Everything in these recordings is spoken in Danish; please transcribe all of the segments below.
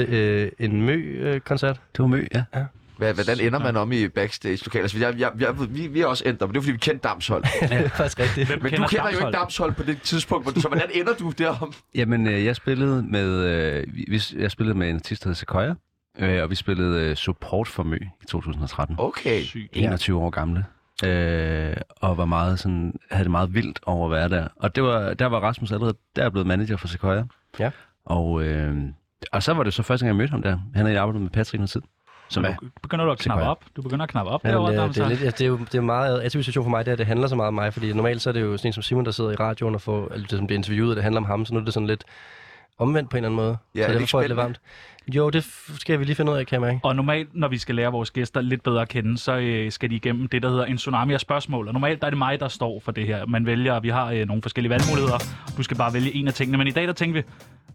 øh, en mø-koncert. Det var mø, ja. Hvad, hvordan ender man om i backstage lokaler? Altså, jeg, jeg, jeg, ved- vi, vi er også endt der, men det er fordi, vi kendte Damshold. Det er faktisk rigtigt. Men kender du kender jo ikke Damshold på det tidspunkt, hvor du- så hvordan ender du derom? Jamen, øh, jeg spillede med, øh, vi- vi, jeg spillede med en artist, der hed Sequoia, øh, og vi spillede øh, support for Mø i 2013. Okay. Sygt. 21 år gamle. Øh, og var meget sådan, havde det meget vildt over at være der. Og det var, der var Rasmus allerede, der er blevet manager for Sequoia. Ja. Og, øh, og så var det så første gang, jeg mødte ham der. Han havde arbejdet med Patrick noget tid. Som er, Du begynder du at knappe Sequoia. op. Du begynder at knappe op Ja, men, derovre, øh, det, er Damsholm. lidt, ja, det, er jo, det er meget atypisk situation for mig, det er, at det handler så meget om mig, fordi normalt så er det jo sådan en som Simon, der sidder i radioen og får, eller det, som bliver interviewet, og det handler om ham, så nu er det sådan lidt omvendt på en eller anden måde. Ja, er så det derfor ikke får jeg det lidt varmt. spændende? Jo, det f- skal vi lige finde ud af, kan jeg mærke. Og normalt, når vi skal lære vores gæster lidt bedre at kende, så øh, skal de igennem det, der hedder en tsunami af spørgsmål. Og normalt der er det mig, der står for det her. Man vælger, vi har øh, nogle forskellige valgmuligheder. Du skal bare vælge en af tingene. Men i dag, der tænkte vi,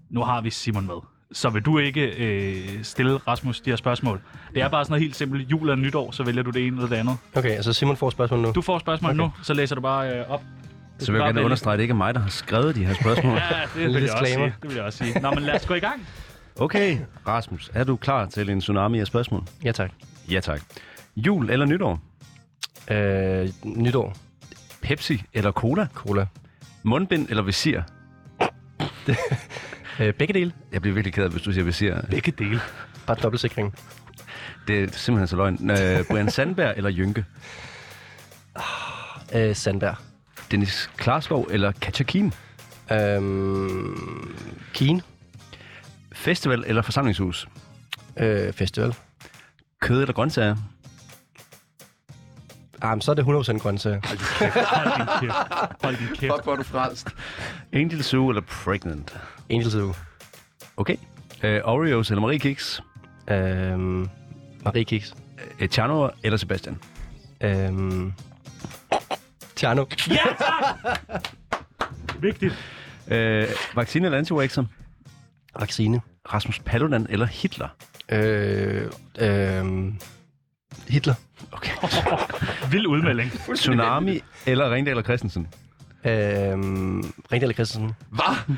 nu har vi Simon med. Så vil du ikke øh, stille Rasmus de her spørgsmål. Det er bare sådan noget helt simpelt. Jul og nytår, så vælger du det ene eller det andet. Okay, altså Simon får spørgsmål nu. Du får spørgsmål okay. nu, så læser du bare øh, op. Du så vil jeg bare gerne vælge. understrege, at det ikke er mig, der har skrevet de her spørgsmål. Ja, det vil, jeg også disclaimer. sige. det vil jeg også sige. Nå, men lad os gå i gang. Okay, Rasmus, er du klar til en tsunami af spørgsmål? Ja, tak. Ja, tak. Jul eller nytår? Øh, nytår. Pepsi eller cola? Cola. Mundbind eller visir? Øh, begge dele. Jeg bliver virkelig ked af, hvis du siger visir. Begge dele. Bare dobbeltsikring. Det er simpelthen så løgn. Øh, Brian Sandberg eller Jynke? Øh, Sandberg. Dennis Klarskov eller Katja Keen? Øhm, Øh, Keen. Festival eller forsamlingshus? Øh, festival. Kød eller grøntsager? Ah, men så er det 100% grøntsager. Hold din kæft. Hold din kæft. Hold din kæft. Fuck, hvor er du fransk. Angel Zoo eller Pregnant? Enkeltid uge. Okay. Øh, Oreos eller Marie Kiks? Øhm, Marie Kiks. Øh, Tjerno eller Sebastian? Øhm, Tjerno. Ja, tak! Vigtigt. Øh, vaccine eller antivaxer? Vaccine. Rasmus Paludan eller Hitler? Øh, øh, Hitler. Okay. Vild udmelding. Tsunami eller Ringdal og Christensen? Øh, Ringdal og Christensen. Hvad?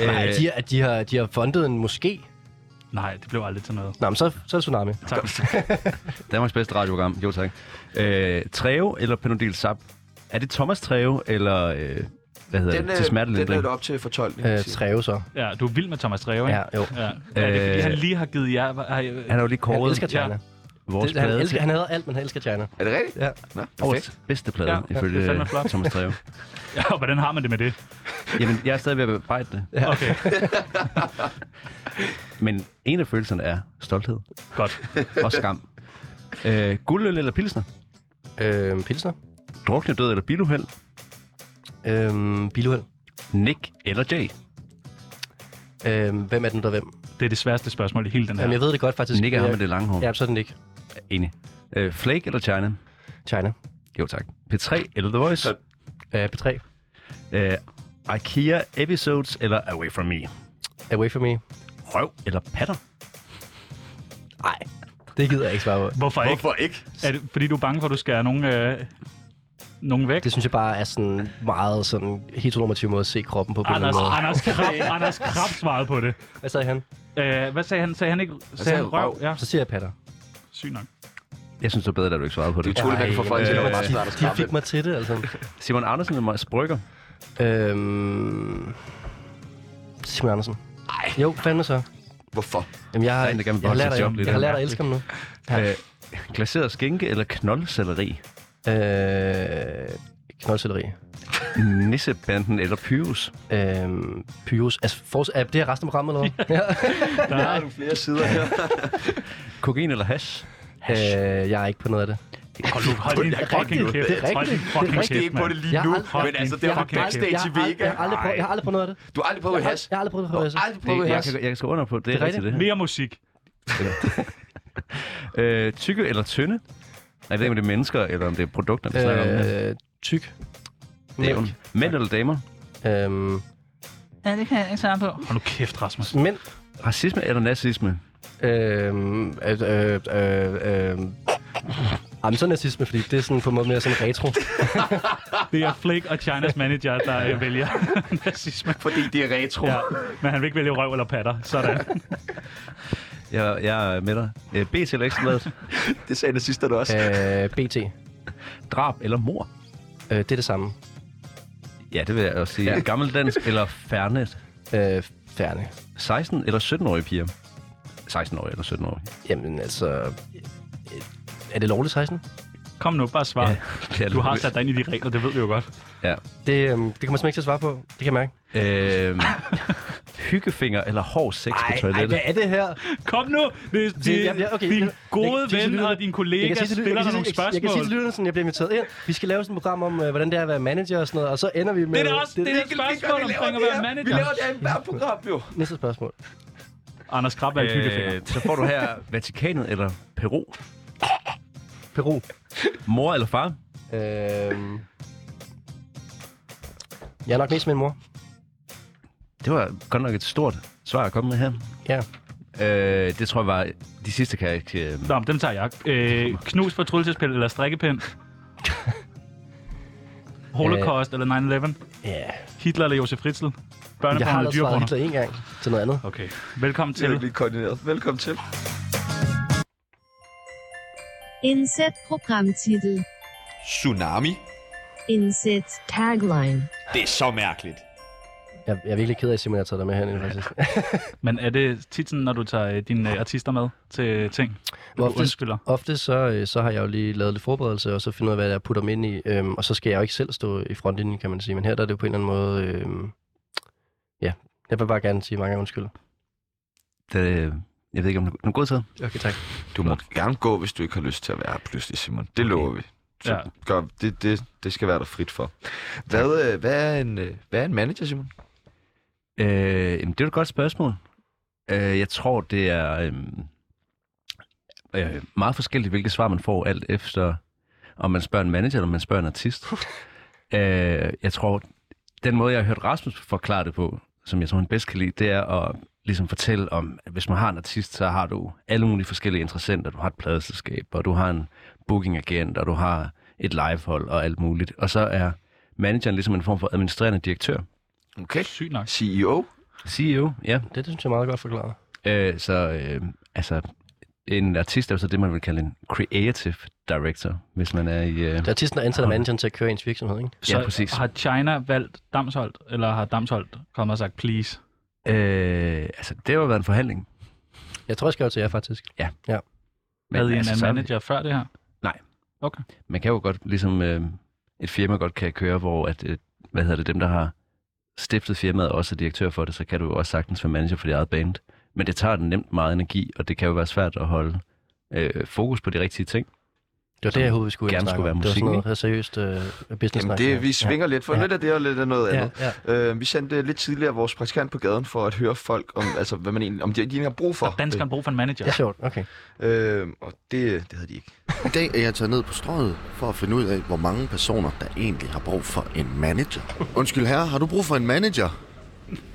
Øh, at de, at de, har, de har fundet en moské. Nej, det blev aldrig til noget. Nå, men så, så er det tsunami. Tak. Danmarks bedste radioprogram. Jo, tak. Øh, Treo eller Panodil Sap? Er det Thomas Treo eller... Øh, hvad hedder Den, det? Til øh, den er smertelindring? det op til fortolkning. Øh, Treve så. Ja, du er vild med Thomas Dreve, ikke? Ja, jo. ja. Er det, fordi Øh, han lige har givet jer... Har, Han er jo lige Han kåret elsker Tjerno. vores Det, han, plade elsker, til han hader alt, men han elsker Tjerno. Er det rigtigt? Ja. Nå, perfekt. årets bedste plade, Ja, ja, ja, ifølge det er fandme øh, flot. Thomas Treve. ja, og hvordan har man det med det? Jamen, jeg er stadig ved at bebrejde det. Okay, Men en af følelserne er stolthed godt. og skam. Øh, guldøl eller pilsner? Øh, Pilsner. Drukne død eller biluheld? Øh, Biluheld. Nick eller Jay? Øh, hvem er den der hvem? Det er det sværeste spørgsmål i hele den her. Jamen, jeg ved det godt faktisk. Nick er ham med Jeg- det lange hår. Ja. Ja, så er den ikke. Enig. Øh, Flake eller China? China. Jo tak. P3 eller The Voice? Øh, P3. Øh, IKEA Episodes eller Away From Me? Away from me. Røv eller patter? Nej, det gider jeg ikke svare på. Hvorfor ikke? Hvorfor ikke? Er det, fordi du er bange for, at du skærer nogen, øh, nogen væk? Det synes jeg bare er sådan meget sådan heteronormativ måde at se kroppen på. på en eller Anders, anden måde. Anders, Krab, Anders Krab svarede på det. Hvad sagde han? Øh, hvad sagde han? Sagde han ikke sagde sagde han han røv? røv. Ja, Så siger jeg patter. syg nok. Jeg synes, det var bedre, da du ikke svarede på Det er det. utroligt, man kan få folk til at være meget øh, De fik mig til det, altså. Simon Andersen eller Mads Brygger? Øhm... Simon Andersen. Ej. Jo, fandme så. Hvorfor? Jamen, jeg, har, Der er en, der gerne vil jeg, har beholde lært, sit at, job lidt. jeg har lært at elske ham nu. Øh, glaseret skinke eller knoldcelleri? Øh, knoldcelleri. Nissebanden eller Pyrus? Øh, Pyrus. Altså, for, er det her resten af programmet, eller hvad? Der har du flere sider her. Kokain eller hash? Ja. øh, jeg er ikke på noget af det. Hold, nu- hold din Det er fucking rigtigt. kæft. Det er Hold din rigtigt. fucking Det er Måske kæft, ikke på det mand. lige Jeg har nu, aldrig- men altså, det jeg var har på backstage jeg, i har aldrig, Vega. jeg, har aldrig prøvet, jeg har aldrig prøvet noget af det. Du har aldrig prøvet Jeg har, hash. jeg har aldrig prøvet Du noget af har aldrig prøvet Det, jeg, hash. kan, jeg kan skrive under på, det, det Det er er rigtigt, det her. Mere musik. Øh, tykke eller tynde? Jeg ved ikke, om det er mennesker, eller om det er produkter, vi snakker om. her. det. Øh, tyk. Det er jo- Mænd eller damer? Øhm, Ja, det kan jeg ikke svare på. Hold nu kæft, Rasmus. mænd. Racisme eller nazisme? Øhm, øh, øh, øh, øh, Jamen, så nazisme, fordi det er sådan på en måde mere sådan retro. Det er Flake og Chinas manager, der øh, vælger nazisme. Fordi det er retro. Ja, men han vil ikke vælge røv eller patter. Sådan. Jeg, jeg er med dig. Øh, BT eller Ekstrabladet? Det sagde nazisterne også. øh, BT. Drab eller mor? Øh, det er det samme. Ja, det vil jeg også sige. Ja. Gammeldansk eller færnet? Øh, færdig. 16 eller 17-årige piger? 16-årige eller 17-årige? Jamen, altså... øh, Er det lovligt 16? Kom nu, bare svar. Ja, Du har sat dig ind i de regler, det ved vi jo godt. Ja. Det, øhm, det kommer jeg simpelthen ikke til at svare på. Det kan jeg mærke. Øhm, hyggefinger eller hård sex på toilettet? er det her? Kom nu! Det, det, Det- ja, ja, okay. Din Jeg- gode jeg kan sige til ven lytterne- og din Jeg kollega kan, sige til, lyt- stiller jeg, kan dig nogle sige, jeg, jeg kan sige spørgsmål. til lytterne, sådan, jeg bliver inviteret ind. Vi skal lave sådan et program om, øh, hvordan det er at være manager og sådan noget, og så ender vi med... Det er da også det, det, det, spørgsmål omkring at være Vi manager. laver det her i hver program, jo. Næste spørgsmål. Anders Krabbe er øh, Øh, så får du her Vatikanet eller Peru? Peru. Mor eller far? Øhm, jeg er nok mest min mor. Det var godt nok et stort svar at komme med her. Ja. Øh, det tror jeg var... De sidste kan jeg ikke... Øh, Nå, men dem tager jeg. Øh, knus fortrydelsespil eller strikkepind? Holocaust Øh. eller 9-11? Ja. Hitler eller Josef Fritzl? Jeg har Børneporn eller allerede svaret dyreporno? Hitler en gang til noget andet. Okay. Velkommen Det er til. ikke lige koordineret. Velkommen til. Inset programtitel. Tsunami? Inset tagline. Det er så mærkeligt. Jeg, jeg er virkelig ked af, Simon, at jeg tager dig med herinde, faktisk. Men er det tit sådan, når du tager øh, dine øh, artister med til øh, ting? Hvor du Ofte- undskylder? Ofte så, øh, så har jeg jo lige lavet lidt forberedelse, og så finder ud af, hvad jeg putter dem ind i. Øhm, og så skal jeg jo ikke selv stå i frontlinjen, kan man sige. Men her der er det jo på en eller anden måde... Øhm, ja, jeg vil bare gerne sige mange gange undskyld. det, øh, jeg ved ikke, om du er god tid. Okay, tak. Du må gerne gå, hvis du ikke har lyst til at være her pludselig, Simon. Det lover vi. Så Ja. gør, vi. det, det, det skal være der frit for. Hvad, øh, hvad, er en, øh, hvad er en manager, Simon? Øh, jamen, det er et godt spørgsmål. Øh, jeg tror, det er øh, øh, meget forskelligt, hvilke svar man får, alt efter om man spørger en manager, eller om man spørger en artist. øh, jeg tror, den måde, jeg har hørt Rasmus forklare det på, som jeg tror, han bedst kan lide, det er at ligesom fortælle om, at hvis man har en artist, så har du alle mulige forskellige interessenter. Du har et pladeselskab, og du har en bookingagent, og du har et livehold og alt muligt. Og så er manageren ligesom en form for administrerende direktør. Okay. E Sygt nok. CEO? CEO, ja. Det, det synes jeg er meget godt forklaret. Øh, så øh, altså, en artist er jo så det, man vil kalde en creative director, hvis man er i... Øh, Det er artisten, der ansætter manageren til at køre ens virksomhed, ikke? Så ja, præcis. har China valgt Damsholdt, eller har Damsholdt kommet og sagt, please? Øh, altså, det har jo været en forhandling. Jeg tror, jeg skrev til jer, faktisk. Men, Havde I en altså, anden så- manager før det her? Man kan jo godt, ligesom øh, et firma godt kan køre, hvor at, øh, hvad hedder det, dem, der har stiftet firmaet, også er direktør for det, så kan du jo også sagtens være manager for dit eget band. Men det tager nemt meget energi, og det kan jo være svært at holde øh, fokus på de rigtige ting. Det var det, jeg håbede, vi skulle ind og gerne snakke skulle om. være Det var sådan musik, noget her seriøst øh, business Jamen, det, vi svinger lidt for Ja. lidt af det, og lidt af noget ja. andet. ja, ja. Øh, vi sendte lidt tidligere vores praktikant på gaden for at høre folk om, altså, hvad man egentlig, om de, de egentlig har brug for. Har danskeren brug for en manager? Det er sjovt. Okay. Øh, og det, det havde de ikke. I dag er jeg taget ned på strøget for at finde ud af, hvor mange personer, der egentlig har brug for en manager. Undskyld herre, har du brug for en manager?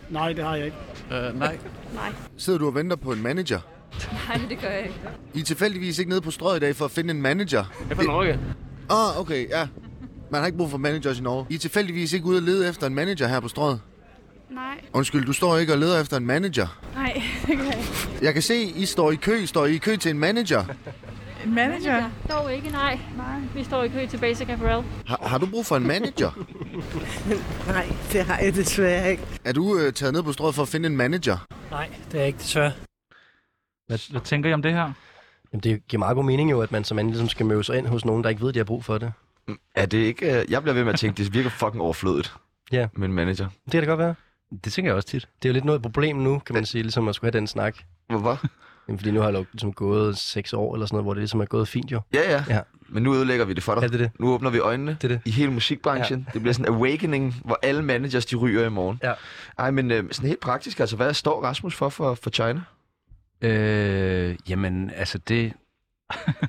Nej, det har jeg ikke. Øh, Sidder du og venter på en manager? Nej, det gør jeg ikke. I er tilfældigvis ikke nede på strøget i dag for at finde en manager. Jeg fandt Norge. Åh, oh, okay, ja. Man har ikke brug for managers i Norge. I er tilfældigvis ikke ude at lede efter en manager her på strøget. Nej, Undskyld, du står ikke og leder efter en manager. nej, det gør jeg ikke. Jeg kan se, I står i kø. Står I i kø til en manager? Manager? Dog ikke, nej. nej. Vi står i kø til Basic Apparel. Har, har du brug for en manager? Nej, det har jeg desværre ikke. Er du øh, taget ned på strøget for at finde en manager? Nej, det er jeg ikke desværre. Hvad, hvad tænker I om det her? Jamen, det giver meget god mening jo, at man som man ligesom skal møde sig ind hos nogen, der ikke ved, de har brug for det. Mm, Er det ikke... Øh, jeg bliver ved med at tænke, det virker fucking overflødigt. Ja. Med en manager. Det kan det godt være. Det tænker jeg også tit. Det er jo lidt noget af et problem nu, kan man sige, ligesom at skulle have den snak. Hvorfor? Jamen, fordi nu har jeg jo ligesom gået seks år eller sådan noget, hvor det ligesom er gået fint jo. Ja, ja, Ja. ja. Men nu ødelægger vi det for dig. Er det det? Nu åbner vi øjnene Det er det. i hele musikbranchen. Ja. Det bliver sådan en awakening, hvor alle managers de ryger i morgen. Ja. Ej, men øh, sådan helt praktisk, altså hvad står Rasmus for for, for China? Øh, jamen, altså det,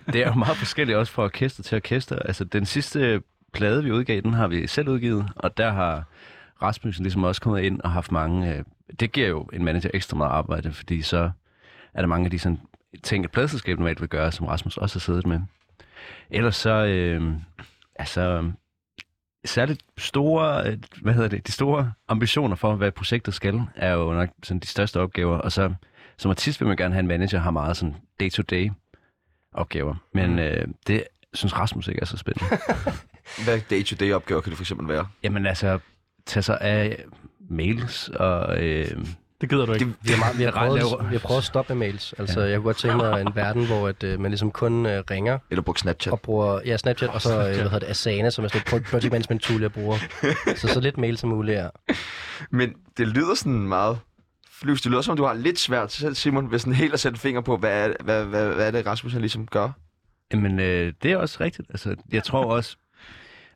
det er jo meget forskelligt også fra orkester til orkester. Altså den sidste plade, vi udgav, den har vi selv udgivet, og der har Rasmussen ligesom også kommet ind og haft mange... Øh, det giver jo en manager ekstra meget arbejde, fordi så er der mange af de sådan, ting, et pladselskab normalt vil gøre, som Rasmus også har siddet med. Ellers så, øh, altså, særligt store, øh, hvad hedder det, de store ambitioner for, hvad projektet skal, er jo nok sådan de største opgaver. Og så som artist vil man gerne have en manager, har meget sådan day-to-day opgaver. Men øh, det synes Rasmus ikke er så spændende. Hvad day-to-day opgaver kan det for eksempel være? Jamen altså, tage sig af mails og... Øh, det gider du ikke. Det, vi, har meget, vi, har prøvet, vi har prøvet at stoppe med mails. Altså, ja. jeg kunne godt tænke mig en verden, hvor at, øh, man ligesom kun øh, ringer. Eller bruger Snapchat. Og bruger, ja, Snapchat, og så øh, hvad hedder det, Asana, som er sådan et pro- project management tool, jeg bruger. så så lidt mail som muligt, ja. Men det lyder sådan meget flyvs. Det lyder som, om du har lidt svært selv, Simon, ved sådan helt at sætte finger på, hvad, er- hvad, hvad, hvad er det, Rasmus han ligesom gør? Jamen, øh, det er også rigtigt. Altså, jeg tror også,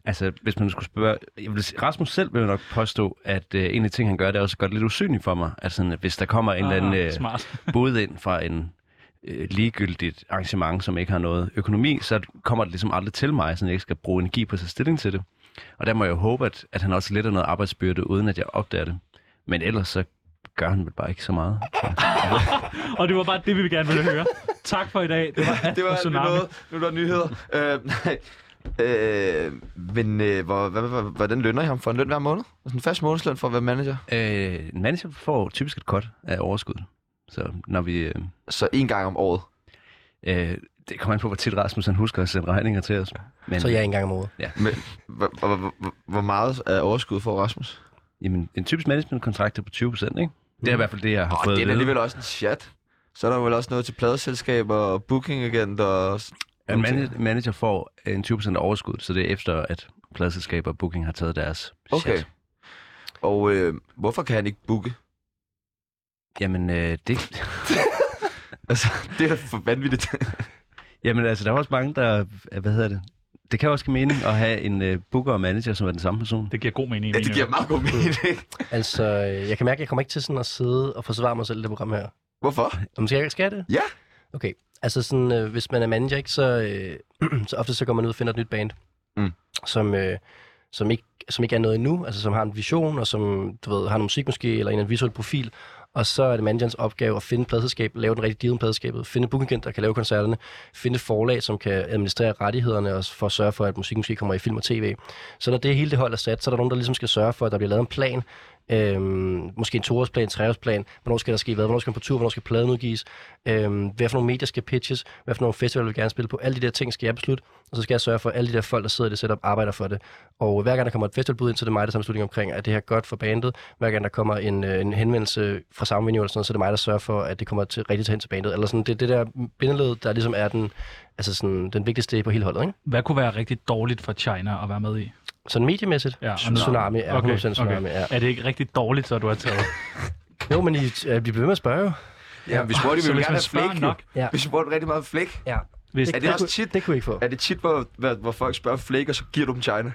altså, hvis man skulle spørge... Jeg vil, sige- Rasmus selv vil jo nok påstå, at øh, en af de ting, han gør, det er også godt lidt usynlig for mig. Altså, sådan, at hvis der kommer en Ah, eller anden smart. øh, bod ind fra en øh, ligegyldigt arrangement, som ikke har noget økonomi, så kommer det ligesom aldrig til mig, så jeg ikke skal bruge energi på at tage stilling til det. Og der må jeg jo håbe, at, at han også letter noget arbejdsbyrde, uden at jeg opdager det. Men ellers så gør han vel bare ikke så meget. Og det var bare det, vi gerne ville høre. Tak for i dag. Det var, alt det for var Tsunami. noget. Nu er der nyheder. Øh, nej. Øh, men øh, hvor, hvad, hvad, hvordan lønner I ham for en løn hver måned? Altså en fast månedsløn for at være manager? Øh, en manager får typisk et cut af overskuddet. Så når vi... Øh, Så en gang om året? Øh, det kommer an på, hvor tit Rasmus han husker at sende regninger til os. Men, Så jeg er en gang om året. Ja. Men, hvor, hvor, hvor, hvor meget er overskud for Rasmus? Jamen, en typisk managementkontrakt er på 20 procent, ikke? Det er i hvert fald det, jeg har Åh, fået det er da at vide. alligevel også en chat. Så er der vel også noget til pladeselskaber og booking agent og... s- En nogle ting. man- manager får en 20 procent overskud, så det er efter, at pladselskaber og booking har taget deres Okay. chat. Og øh, hvorfor kan han ikke booke? Jamen, øh, det... Altså, det er for vanvittigt. Jamen, altså, der er også mange, der... øh, Hvad hedder det? Det kan også give mening at have en øh, booker og manager, som er den samme person. Det giver god mening. i ja, mine det giver ører. meget god mening. Altså, øh, jeg kan mærke, at jeg kommer ikke til sådan at sidde og forsvare mig selv i det program her. Hvorfor? Om skal jeg skal jeg det? Ja. Okay. Altså sådan, øh, hvis man er manager, ikke, så, øh, så ofte så går man ud og finder et nyt band, Mm. som, øh, som, ikke, som ikke er noget endnu, altså som har en vision, og som du ved, har noget musik måske, eller en eller anden visuel profil. Og så er det managerens opgave at finde pladselskab, lave den rigtige deal med pladselskabet, finde bookingagent, der kan lave koncerterne, finde et forlag, som kan administrere rettighederne og s- for at sørge for, at musikken måske kommer i film og tv. Så når det hele det hold er sat, så er der nogen, der ligesom skal sørge for, at der bliver lavet en plan, Øhm, måske en toårsplan, en treårsplan, hvornår skal der ske hvad, hvornår skal man på tur, hvornår skal pladen udgives, øhm, hvad for nogle medier skal pitches, hvad for nogle festivaler vil jeg gerne spille på, alle de der ting skal jeg beslutte, og så skal jeg sørge for, at alle de der folk, der sidder i det setup, arbejder for det. Og hver gang der kommer et festivalbud ind, så er det mig, der tager beslutning omkring, at det her godt for bandet. Hver gang der kommer en, øh, en henvendelse fra samme venue eller sådan noget, så er det mig, der sørger for, at det kommer til, rigtigt hen til bandet. Eller sådan, det er det der bindeled, der ligesom er den, altså sådan, den vigtigste på hele holdet. Ikke? Hvad kunne være rigtig dårligt for China at være med i? Sådan mediemæssigt, Ja, ja, og tsunami er 100% tsunami. Ja. Er det ikke rigtig dårligt, så du har taget? Jo, men I, øh, I bliver ved med at spørge jo. Ja, vi spurgte, Så vi ville hvis gerne man have flæk. spørger jo. nok, Ja. Vi spurgte rigtig meget om flæk. Ja. hvis Er det også kunne- tit? Det kunne I ikke få. Er det tit, hvor, hvor, hvor folk spørger flæk, og så giver du dem China?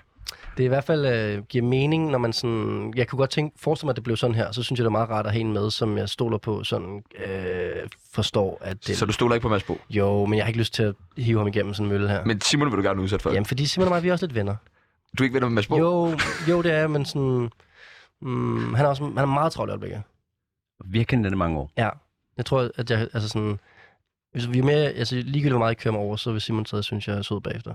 Det er i hvert fald øh, giver mening, når man sådan... Jeg kunne godt tænke, forestille mig, at det blev sådan her, så synes jeg, det er meget rart at have en med, som jeg stoler på, sådan øh, forstår, at det... Så du stoler ikke på Mads Bo. Jo, men jeg har ikke lyst til at hive ham igennem sådan en mølle her. Men... Men Simon vil du gerne udsætte for. Jamen, fordi Simon og mig, vi er også lidt venner. Du er ikke venner med Mads Bo? Jo, jo det er jeg, men sådan... Mm, han er også han er meget travlt i øjeblikket. Vi har kendt den i mange år. Ja. Jeg tror, at jeg... Altså sådan... Hvis vi er med, altså ligegyldigt hvor meget jeg kører mig over, så vil Simon stadig synes, jeg er sød bagefter.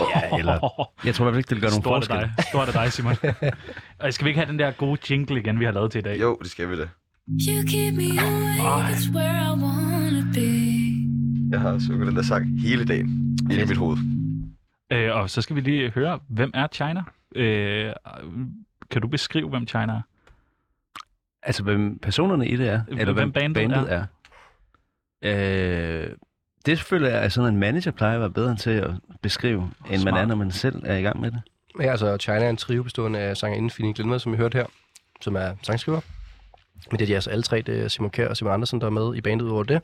Ja, eller... Jeg tror i hvert fald ikke, det gør nogen Stort af forskel. dig. Stort af dig, Simon. Og skal vi ikke have den der gode jingle igen, vi har lavet til i dag? Jo, det skal vi da. Jeg har sunget den der sang hele dagen. Inde i mit hoved. Øh, og så skal vi lige høre, hvem er China? Øh, kan du beskrive, hvem China er? Altså, hvem personerne i det er, Hvem eller hvem bandet bandet, er. bandet er. Øh, det føler jeg, at sådan en manager plejer at være bedre til at beskrive, end Smart. man er, når man selv er i gang med det. Ja, altså China er en trio bestående af sangerinde Fini Glindved, som I hørte her, som er sangskriver. Men det er de altså alle tre, det er Simon Kjær og Simon Andersen, der er med i bandet over det.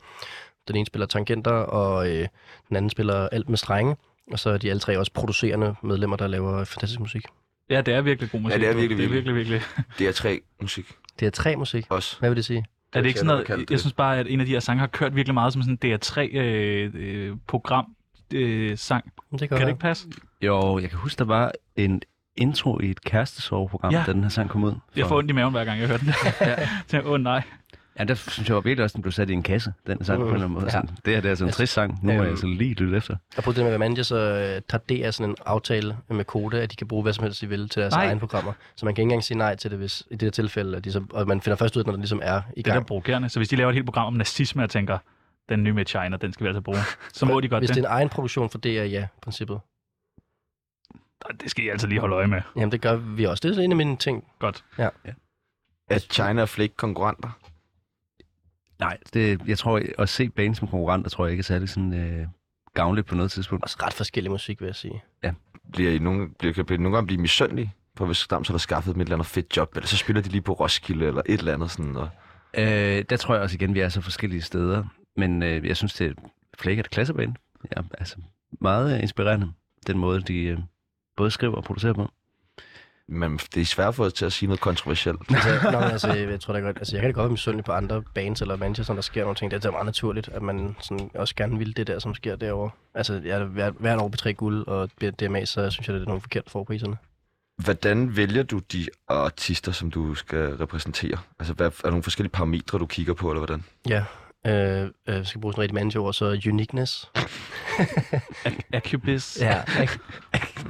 Den ene spiller tangenter, og øh, den anden spiller alt med strenge. Og så er de alle tre også producerende medlemmer, der laver fantastisk musik. Ja, det er virkelig god musik. Ja, det er du. virkelig, det er virkelig, virkelig. Det er tre musik Det er tre musik. også. Hvad vil det sige? Er det ikke sådan jeg nok kalde noget, det. jeg synes bare, at en af de her sange har kørt virkelig meget som sådan en DR3-program. Øh, sang. Det øh, Kan det være. ikke passe? Jo, jeg kan huske, der var en intro i et kærestesoveprogram, Ja. ja. da den her sang kom ud. Jeg får ondt i maven, hver gang jeg hører den. ja. Tænker, åh oh, nej. Ja, der synes jeg jo virkelig også, den blev sat i en kasse, den sang på en eller anden måde. Ja. Ja. Sådan, det her det er altså en Altså, trist sang, nu må øhm, jeg altså lige lytte efter. Og på det med Vamanja, så øh, tager det af sådan en aftale med Koda, at de kan bruge hvad som helst, de vil til deres Nej. egne programmer. Så man kan ikke engang sige nej til det, hvis i det her tilfælde, at de så, og man finder først ud af, når det ligesom er i Det er da gang. provokerende. Så hvis de laver et helt program om nazisme, og tænker, den nye med China, den skal vi altså bruge, så må de godt Hvis det det. er en egen produktion for DR, ja, i princippet. Det skal I altså lige holde øje med. Jamen, det gør vi også. Det er sådan en af mine ting. Godt. Ja. At China og Flick konkurrenter. Nej, det, jeg tror, at se Bane som konkurrenter, tror jeg ikke er særlig sådan, øh, gavnligt på noget tidspunkt. Også ret forskellig musik, vil jeg sige. Bliver I nogle, bliver, kan blive, nogle gange blive misundelige på, hvis Stamsel har skaffet dem et eller andet fedt job, eller så spiller de lige på Roskilde, eller et eller andet sådan. Og... Øh, der tror jeg også igen, vi er så forskellige steder. Men øh, jeg synes, det er flækket et klassebane. Ja, altså meget øh, inspirerende, den måde, de øh, både skriver og producerer på. Men det er svært for os til at sige noget kontroversielt. Altså, nå, men altså, jeg tror da godt, altså, jeg kan da godt være misundelig på andre bands eller manager, sådan, der sker nogle ting. Det er da meget naturligt, at man sådan, også gerne vil det der, som sker derovre. Altså, jeg er da hvert, hvert år på tre guld, og bliver DMA, så synes jeg, det er nogle forkerte forpriserne. Hvordan vælger du de artister, som du skal repræsentere? Altså, hvad, er der nogle forskellige parametre, du kigger på, eller hvordan? Ja, øh, øh, skal bruge sådan et rigtigt managerord, så uniqueness. Acubis. Ja.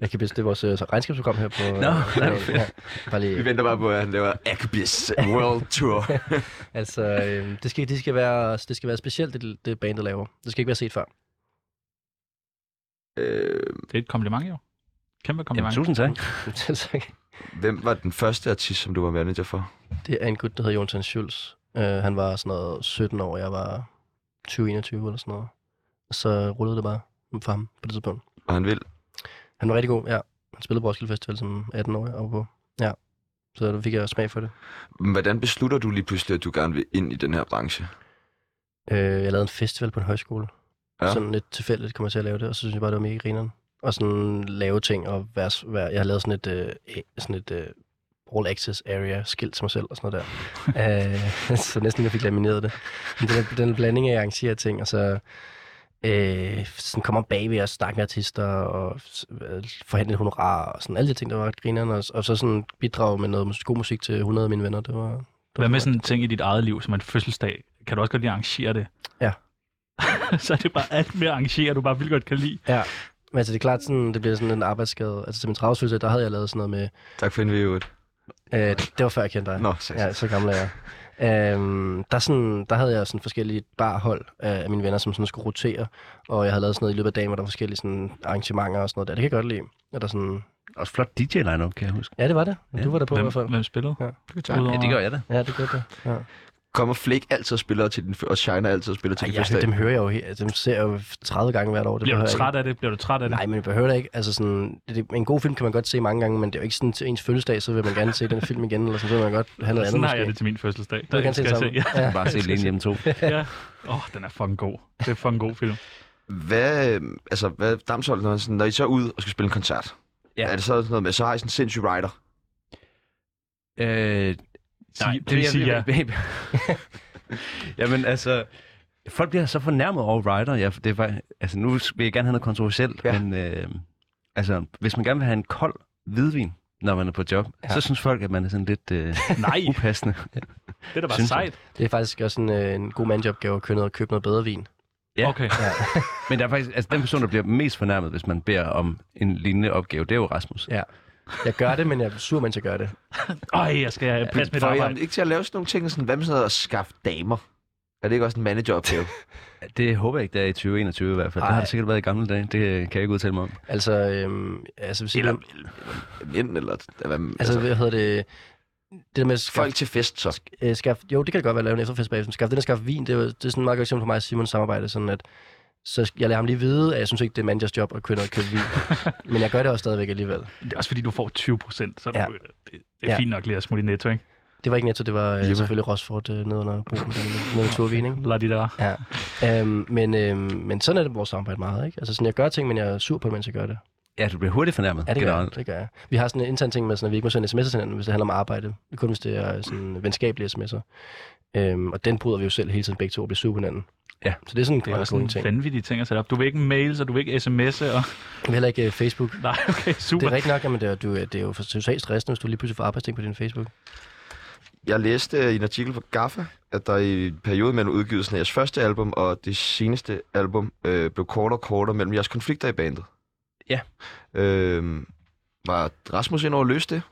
Jeg kan bedst, det er vores øh, så regnskabsprogram her på... Nå, øh, ja, bare lige, Vi venter bare på, at han laver Akubis World Tour. altså, øh, det, skal, det, skal være, det skal være specielt, det, det bandet laver. Det skal ikke være set før. øh, Det er et kompliment, jo. Kæmpe Jamen, kompliment. tusind tak. Selv tak. hvem var den første artist, som du var manager for? Det er en gut, der hedder Jonathan Schultz. Uh, han var sådan noget 17 år, jeg var 20-21 eller sådan noget. Og så rullede det bare for ham på det tidspunkt. Og han vil. Han var rigtig god, ja. Han spillede på Roskilde Festival som 18-årig oppe på. Ja, så der fik jeg smag for det. Hvordan beslutter du lige pludselig, at du gerne vil ind i den her branche? Uh, jeg lavede en festival på en højskole. Ja. Ja. Sådan lidt tilfældigt kom jeg til at lave det, og så synes jeg bare, det var mega grineren. Og sådan lave ting, og være, være, jeg har lavet sådan et, øh, sådan et øh, all access area skilt til mig selv og sådan noget der. øh, så næsten lige, jeg fik lamineret det. Men den, er- den er en blanding af, at jeg arrangerer ting, og så øh, sådan kommer bagved og snakke med artister, og øh, forhandle et honorar, og sådan alle de ting, der var ret grineren, og, og så sådan bidrage med noget mus- god musik til 100 af mine venner. Det var, det var Hvad med fedt. sådan en ting i dit eget liv, som en fødselsdag? Kan du også godt lige arrangere det? Ja. så er det bare alt med at arrangere, du bare vildt godt kan lide. Ja, men altså det er klart, sådan, det bliver sådan en arbejdsskade. Altså til min travlsfølelse, der havde jeg lavet sådan noget med, Tak for interviewet. Øh, det var før jeg kendte dig. Nå, sex. Ja, så gammel er jeg. Øhm, der, er sådan, der havde jeg sådan forskellige barhold af af mine venner, som sådan skulle rotere, og jeg havde lavet sådan noget i løbet af dagen, hvor der var forskellige sådan arrangementer og sådan noget der. Det kan jeg godt lide. Og der sådan... Også flot DJ-line-up, kan jeg huske. Ja, det var det. Du var der på i hvert fald. Hvem, hvem spillede? Ja. Udover- Ja, det gør jeg da. Ja, det gør det. Ja. Kommer Flake altid og spiller til din, f- og Shiner altid og spiller til Ej, din jeg, fødselsdag? dem hører jeg jo helt. Dem ser jeg jo 30 gange hvert år. Det Bliver du behøver jeg træt af det? Bliver du træt af ikke. det? Nej, men det behøver det ikke. Altså sådan, det, det, en god film kan man godt se mange gange, men det er jo ikke sådan til ens fødselsdag, så vil man gerne se den film igen, eller sådan, så vil man godt have noget andet Sådan har måske. jeg det til min fødselsdag. Du vil gerne se det Skal jeg sammen. se- Ja. Bare se Lene hjemme to. Ja. Åh, oh, den er fucking god. Det er fucking god film. Hvad, øh, altså, hvad Damsholdt, når, han sådan, når I så er ude og skal spille en koncert, Ja. ja. er det så sådan noget med, så har I sådan en sindssyg rider? Øh, Sige- det vil sige ja. Jamen altså, folk bliver så fornærmet over Rider. Ja, det er, fakt- altså, nu vil jeg gerne have noget kontroversielt, Ja. ja. men øh, altså, hvis man gerne vil have en kold hvidvin, når man er på job, ja. så synes folk, at man er sådan lidt øh, Nej, upassende. det er da bare Synes jeg. sejt. Det er faktisk også en, øh, en god mandjopgave at købe noget, købe noget bedre vin. Ja. Okay. Men der er faktisk, altså, den person, der bliver mest fornærmet, hvis man beder om en lignende opgave, det er jo Rasmus. Ja. Jeg gør det, men jeg er sur, mens jeg gør det. Ej, jeg skal øh, passe mit Får I ham arbejde. ikke til at lave sådan nogle ting, sådan, hvad med sådan noget at skaffe damer? Er det ikke også en manageropgave? Det håber jeg ikke, det er i 2021 i hvert fald. Ej. Ej. Det har det sikkert været i gamle dage. Det øh, kan jeg ikke udtale mig om. Altså, øhm, altså, hvis eller, eller, eller, mænd, eller, eller, hvad- altså, altså, hvad hedder det... Det der med at skaffe, folk til fest, så. øh, skaffe, jo, det kan det godt være at lave en efterfest bagefter. men Skaffe det der skaffe vin, det er, jo- det er sådan et meget godt eksempel for mig og Simons samarbejde, sådan at så sk- jeg lader ham lige vide, at jeg synes ikke, det er manjas job at købe noget købe vin. men jeg gør det også stadigvæk alligevel. Det er også fordi, du får 20 procent, så er du- Ja. det, det er Ja. fint nok lige at smutte i netto, ikke? Det var ikke netto, det var øh, Jeppe. selvfølgelig Rosford øh, nede under broen, nede ved Turvin, ikke? Lad de der. Ja. Øhm, men, øhm, men sådan er det vores samarbejde meget, ikke? Altså sådan, jeg gør ting, men jeg er sur på det, mens jeg gør det. Ja, du bliver hurtigt fornærmet. Ja, det gør, jeg, generelt. det gør jeg. Vi har sådan en intern ting med, sådan, at vi ikke må sende sms'er til hinanden, hvis det handler om arbejde. Kun hvis det er sådan venskabelige sms'er. Øhm, og den bryder vi jo selv hele tiden begge to og bliver sure på hinanden. Ja. Så det er sådan Det er en også sådan nogle ting. vanvittige ting at sætte op. Du vil ikke mails, og du vil ikke sms'e, og... Vi heller ikke øh, Facebook. Nej, okay, Det super. er rigtigt nok, men det er, du, øh, det er jo for- totalt stressende, hvis du lige pludselig får arbejdsting på din Facebook. Jeg læste øh, i en artikel på Gaffa, at der i perioden mellem udgivelsen af jeres første album og det seneste album øh, blev kortere og kortere mellem jeres konflikter i bandet. Ja. Øhm, var Rasmus ind over at løse det?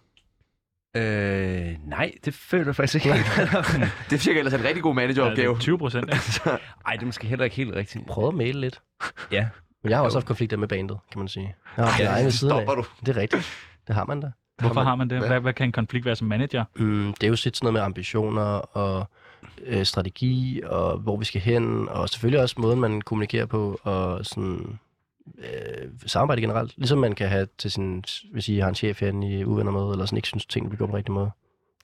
Øh, nej, det føler jeg faktisk ikke helt. det virker ellers en rigtig god manageropgave. 20 procent. Ej, det er måske heller ikke helt rigtigt. Prøv at male lidt. Ja. Men jeg har også haft konflikter med bandet, kan man sige. Jeg har Ej, min egen ved siden af. stopper du. Det er rigtigt. Det har man da. Hvorfor har man det? Hvad? Hvad, hvad kan en konflikt være som manager? Mm, det er jo sit sådan noget med ambitioner og øh, strategi, og hvor vi skal hen, og selvfølgelig også måden, man kommunikerer på, og sådan øh, samarbejde generelt. Ligesom man kan have til sin, hvis I har en chef herinde, I er uvenner med, eller sådan ikke synes, tingene bliver gjort på den rigtige måde.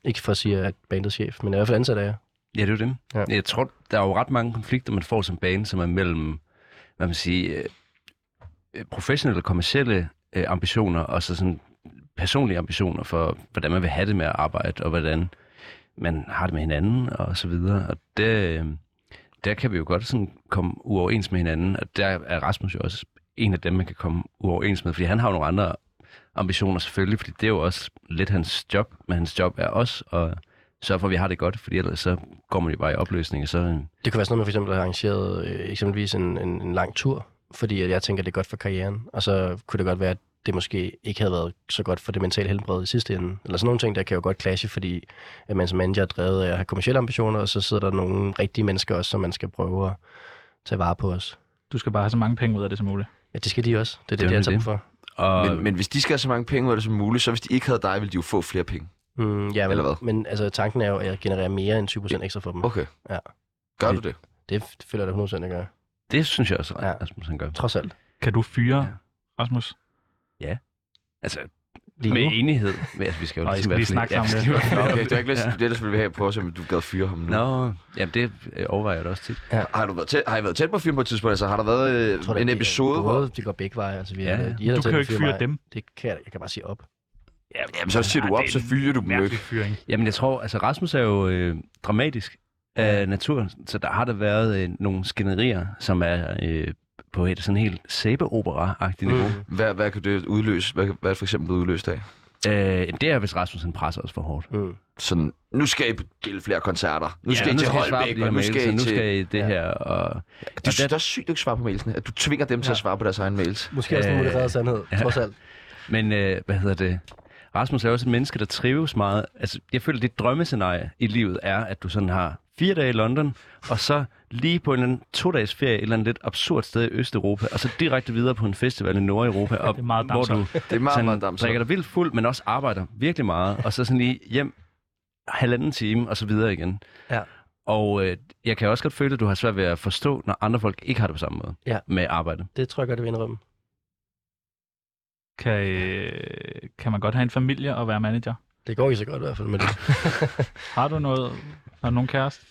Ikke for at sige, at bandets chef, men i hvert fald ansat af jer. Ja, det er jo dem. Ja. Ja. Jeg tror, der er jo ret mange konflikter, man får som bane, som er mellem, hvad man siger, øh, øh, professionelle og kommersielle øh, ambitioner, og så sådan personlige ambitioner for, hvordan man vil have det med at arbejde, og hvordan man har det med hinanden, og så videre. Og det, øh, der kan vi jo godt sådan komme uoverens med hinanden, og der er Rasmus jo også en af dem, man kan komme uoverens med, fordi han har jo nogle andre ambitioner selvfølgelig, fordi det er jo også lidt hans job, men hans job er også at sørge for, at vi har det godt, fordi ellers så går man jo bare i opløsning, og så... øh, Det kunne være sådan noget, man for eksempel har arrangeret øh, eksempelvis en, en, en lang tur, fordi at jeg tænker, at det er godt for karrieren, og så kunne det godt være, at det måske ikke havde været så godt for det mentale helbred i sidste ende. Eller sådan nogle ting, der kan jo godt clashe, fordi at man som manager er drevet af at have kommersielle ambitioner, og så sidder der nogle rigtige mennesker også, som man skal prøve at tage vare på os. Du skal bare have så mange penge ud af det som muligt. Ja, det skal de også. Det er det, Det det, er det er nemlig sammen for. Og, Men, men hvis de skal have så mange penge ud af det som muligt, så hvis de ikke havde dig, ville de jo få flere penge. Mm, ja, men, Eller hvad? men altså, tanken er jo, at jeg genererer mere end 20% ekstra for dem. Okay. Ja. Gør du det? Det f- føler jeg da 100% jeg gør. det synes jeg også, Ja. at Rasmus han gør. Trods alt. Kan du fyre, Ja. Rasmus? Altså, Lige med nu. enighed. Men, altså, vi skal jo Og I skal lige snakke sammen ja, lidt. vi skal Nå, jo- okay, du har ikke lyst til det, ellers ville vi have på, om du gad fyre ham nu. Nå, jamen det øh, overvejer jeg da også tit. Har, du været tæt, har I været tæt på film på et tidspunkt? Altså, har der været øh, Jeg tror da, en det er episode, hvor... Både, det går begge veje. Altså, vi Ja, er, ja. de er der Du til kan at jo ikke fyre mig. dem. Det kan jeg, da- jeg kan bare sige op. Jamen, så siger du op, så fyrer du dem jo ikke. Mærkelig fyring. Jamen jeg tror, altså Rasmus er jo øh, dramatisk af naturen, så der har der været øh, nogle skænderier, som er øh, på et sådan helt sæbeopera-agtigt niveau. Mm. Hvad, hvad kan det udløse? Hvad, hvad er det for eksempel blevet udløst af? Øh, jamen, det er, hvis Rasmus han presser os for hårdt. Mm. Sådan, nu skal I dele flere koncerter. Nu skal I nu til skal jeg svare på Holbæk, de her og nu mails, skal og I nu til... skal I det Ja. her. Og, Det er og jo det er sygt, at du ikke svarer på mailsene. At du tvinger dem til at svare på deres egen mails. Måske også en Øh, modereret sandhed, ja. trods alt. Men øh, hvad hedder det? Rasmus er også et menneske, der trives meget. Altså, jeg føler, at dit drømmescenarie i livet er, at du sådan har fire dage i London, og så lige på en eller anden to-dages ferie et eller andet lidt absurd sted i Østeuropa, og så direkte videre på en festival i Nordeuropa, og, Det er meget hvor du Det er meget, meget sådan, damser. drikker dig vildt fuld, men også arbejder virkelig meget, og så sådan lige hjem halvanden time, og så videre igen. Ja. Og øh, jeg kan også godt føle, at du har svært ved at forstå, når andre folk ikke har det på samme måde Ja. med arbejde. Det tror jeg godt, jeg vil indrømme. Kan, øh, kan man godt have en familie og være manager? Det går ikke så godt i hvert fald med det. Har du noget? Har du nogen kæreste?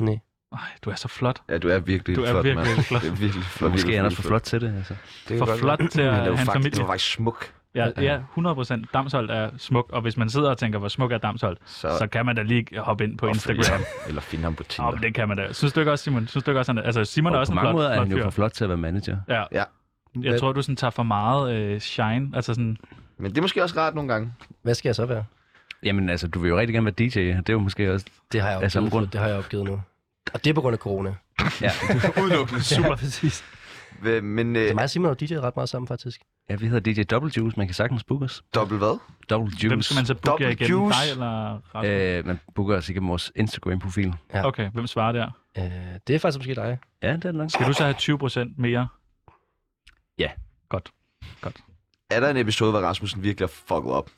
Nej. Nej, du er så flot. Ja, du er virkelig Du er flot, virkelig mand. flot. Det er virkelig flot. Måske er han virkelig også for flot til det. Altså. Det kan For godt flot være. til Men at det var have en faktisk- familie. Det var faktisk smuk. Ja, Ja. ja 100 Damsholdt er smuk, og hvis man sidder og tænker, hvor smuk er Damsholdt, Så, så kan man da lige hoppe ind på og følge Instagram. ham, Eller finde ham på Nå, Tinder. men det kan man da. Synes du ikke også, Simon? Synes du ikke også, han er... Altså, Simon er Og også på en mange flot, måder er flot han jo fyr. for flot til at være manager. Ja. Ja. Jeg tror, du sådan tager for meget øh, shine. Altså sådan, Men det er måske også rart nogle gange. Hvad skal jeg så være? Jamen altså, du vil jo rigtig gerne være DJ. Det er jo måske også... Det har jeg Af samme opgivet, grund. det har jeg opgivet nu. Og det er på grund af corona. Ja, Udelukkende. Super, præcis. Hvad- Men øh, Så mig og Simon har jo DJ'et ret meget sammen, faktisk. ja vi hedder DJ Double Juice. Man kan sagtens booke os. dobbelt hvad? Double Juice. hvem skal man så booke jer Double igennem? juice. Dig eller Rasmus? Øh. Øh, man booker os igennem vores Instagram-profil. Okay, hvem svarer der? Øh, det er faktisk måske dig. Ja, det er det nok. Skal du så have 20% mere? Er der en episode, hvor Rasmussen virkelig har fucket op?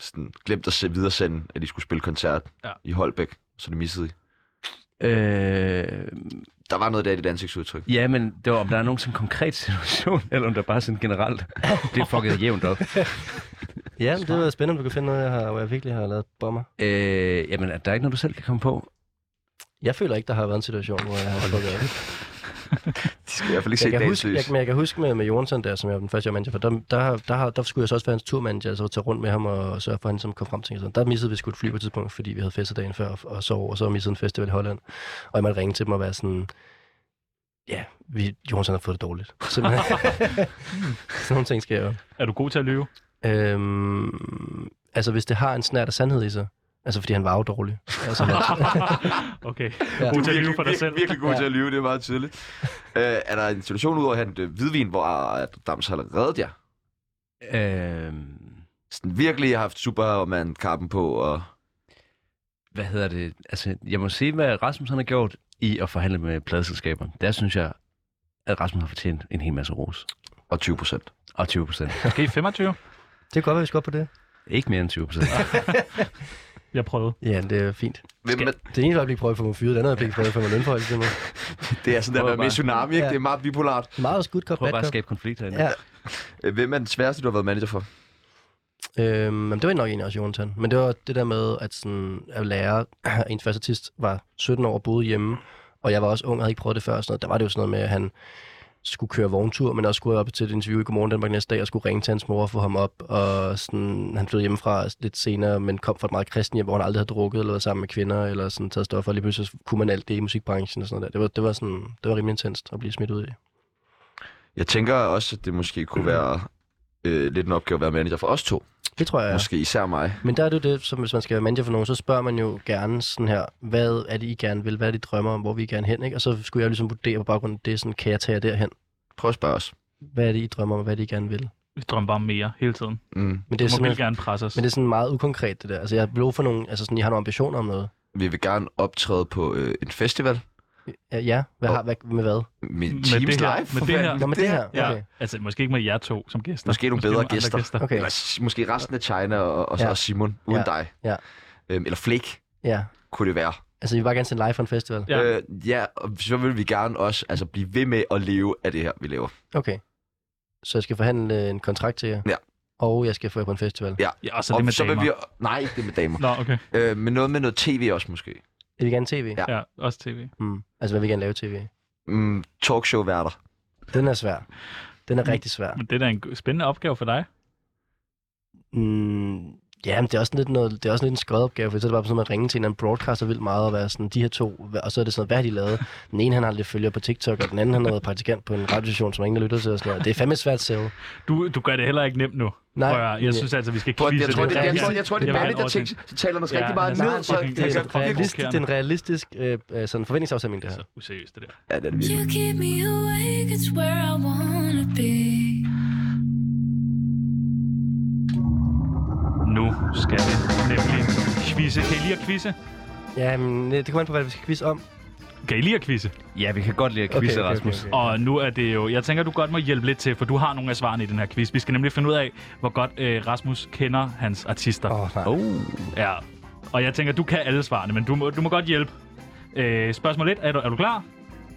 Sådan, glemt at se, videresende, at de skulle spille koncert Ja. ja. i Holbæk, så det missede I. Øh, Der var noget der i dit ansigtsudtryk. ja, men det var, om der er nogen sådan konkret situation, eller om der bare sådan generelt det er fucket jævnt op. Ja, men det er spændende, om du kan finde noget, jeg har, hvor jeg virkelig har lavet bomber. Øh, jamen, er der ikke noget, du selv kan komme på? Jeg føler ikke, der har været en situation, hvor jeg har fået op. De skal i hvert fald ikke se Jeg kan, dagens huske, lys. jeg, men jeg kan huske med, med Jonsson der, som jeg var den første jeg var manager for, der, der, der, der, der skulle jeg så også være hans turmanager, altså tage rundt med ham og sørge for, at han som kom frem til sådan. Der missede vi sgu et fly på et tidspunkt, fordi vi havde festet dagen før og, og sov, og så missede en festival i Holland. Og jeg måtte ringe til dem og være sådan, ja, vi, Jonsson har fået det dårligt. Simpelthen. sådan nogle ting sker jo. Er du god til at lyve? Øhm, altså, hvis det har en snært af sandhed i sig, Altså, fordi han var jo dårlig. Altså, han- Okay. Ja. God til at virkelig- lyve for dig virkelig- selv. Virkelig god Ja. til at lyve, det er meget tydeligt. Øh, er der en situation ud over at have en øh, hvidvin, hvor øh, Dams har reddet jer? Øh, Sådan virkelig har haft Superman-kappen på, og hvad hedder det? Altså, jeg må sige, hvad Rasmus han har gjort i at forhandle med pladeselskaber. Der synes jeg, at Rasmus har fortjent en hel masse ros. og 20 procent. Og 20 procent. Måske 25? det kan godt være, vi skal op på det. Ikke mere end 20 procent. Jeg prøvede. Ja, det er fint. Hvem, er- Det ene øjeblik prøver jeg at få mig fyret, det andet øjeblik prøver jeg at få mig lønforhold. Det er det er sådan, der har Prøv været med i bare. Tsunami, ikke? Ja. Det er meget bipolart. meget også good cop, Prøv bad bare at cop. skabe konflikter ind. Ja. Øh, Hvem er den sværeste, du har været manager for? Øhm, men det var nok egentlig også Jonathan. Men det var det der med, at, sådan, at lære, at ens første artist var 17 år og boede hjemme, og jeg var også ung og havde ikke prøvet det før. og Sådan noget. Der var det jo sådan noget med, at han skulle køre vogntur, men også skulle op til et interview i Godmorgen Danmark næste dag, og skulle ringe til hans mor og få ham op. Og sådan, han flyttede hjemmefra lidt senere, men kom fra et meget kristen hjem, hvor han aldrig havde drukket eller været sammen med kvinder, eller sådan taget stoffer, og lige pludselig så kunne man alt det i musikbranchen og sådan noget der. Det var, det var, sådan, det var rimelig intenst at blive smidt ud i. Jeg tænker også, at det måske kunne være øh, lidt en opgave at være manager for os to. Det tror jeg Ja. er Måske især mig. Men der er det jo det, som hvis man skal være manager for nogen, så spørger man jo gerne sådan her, hvad er det, I gerne vil? Hvad er det, I drømmer om? Hvor vil I gerne hen? Ikke? Og så skulle jeg jo ligesom vurdere på baggrund af det, sådan, kan jeg tage jer derhen? Prøv at spørge os. Hvad er det, I drømmer om, og hvad er det, I gerne vil? Vi drømmer bare om mere hele tiden. Mm. Men det Du er, må simpelthen, virkelig gerne presse os. men det er sådan meget ukonkret, det der. Altså, jeg blev for nogle, altså sådan, jeg har nogle ambitioner om noget. Vi vil gerne optræde på øh, en festival. Ja, ja. Hvad, har, hvad, med hvad? Med, Med med Teams det her- Live. med for det her- fanden. Nå, med det her. Ja, Okay. altså måske ikke med jer to som gæster. Måske nogle bedre nogle andre gæster. Okay. Eller s- måske resten af China og, og så Ja. ja. Simon, uden Ja. ja. dig. Ja. Øhm, eller Flake Ja. kunne det være. Altså, I vil bare gerne sende live fra en festival? Ja. Øh, ja, og så vil vi gerne også altså, blive ved med at leve af det her, vi laver. Okay. Så jeg skal forhandle en kontrakt til jer? Ja. Og jeg skal få jer på en festival? Ja, og så det og med så damer. vil vi... Nej, ikke det med damer. Nå, okay. øh, men noget med noget tv også måske. Jeg vil gerne tv? Ja. Ja, også tv. Mm. Altså, hvad vil I gerne lave tv? Mm, talkshow-værter. Den er svær. Den er rigtig svær. Men det er da en g- spændende opgave for dig. Mm, ja, men det er også lidt, noget, det er også lidt en skrædderopgave, for så er det bare sådan, at man ringer til en eller anden broadcaster vildt meget og være sådan, de her to, hva- og så er det sådan, hvad har de lavet? Den ene, han har lidt følgere på TikTok, og den anden, han har været praktikant på en radiostation, som ingen der lytter til og sådan noget. Det er fandme et svært sælge. Du, du gør det heller ikke nemt nu. Nej. Prøv at høre, jeg synes altså, vi skal Prøv, kvise jeg, tror, det det, er jeg, rigtigt. tror, jeg tror, det er Jeg har en manager ting, overtænkning. så taler man så Ja, rigtig meget han ned. er Så, meget så, fucking- Det er, sådan, fucking realist, det er en provokerende. realistisk øh, øh, sådan forventningsafstemning, det her. Så Altså, useriøst, det der. ja, det er det virkelig. You keep me awake, it's where I wanna be. Nu skal vi nemlig quizze. Kan I lide at quizze? Altså. Ja, men øh, det kommer an på, hvad vi skal quiz om. Kan I lide at quizze? Ja, vi kan godt lide at Okay, quizze, okay, okay, Rasmus. okay. Og nu er det jo... Jeg tænker, du godt må hjælpe lidt til, for du har nogle af svarene i den her quiz. Vi skal nemlig finde ud af, hvor godt øh, Rasmus kender hans artister. Åh, oh, nej. Oh. Ja. Og jeg tænker, du kan alle svarene, men du må, du må godt hjælpe. Øh, spørgsmål 1. Er du, er du klar?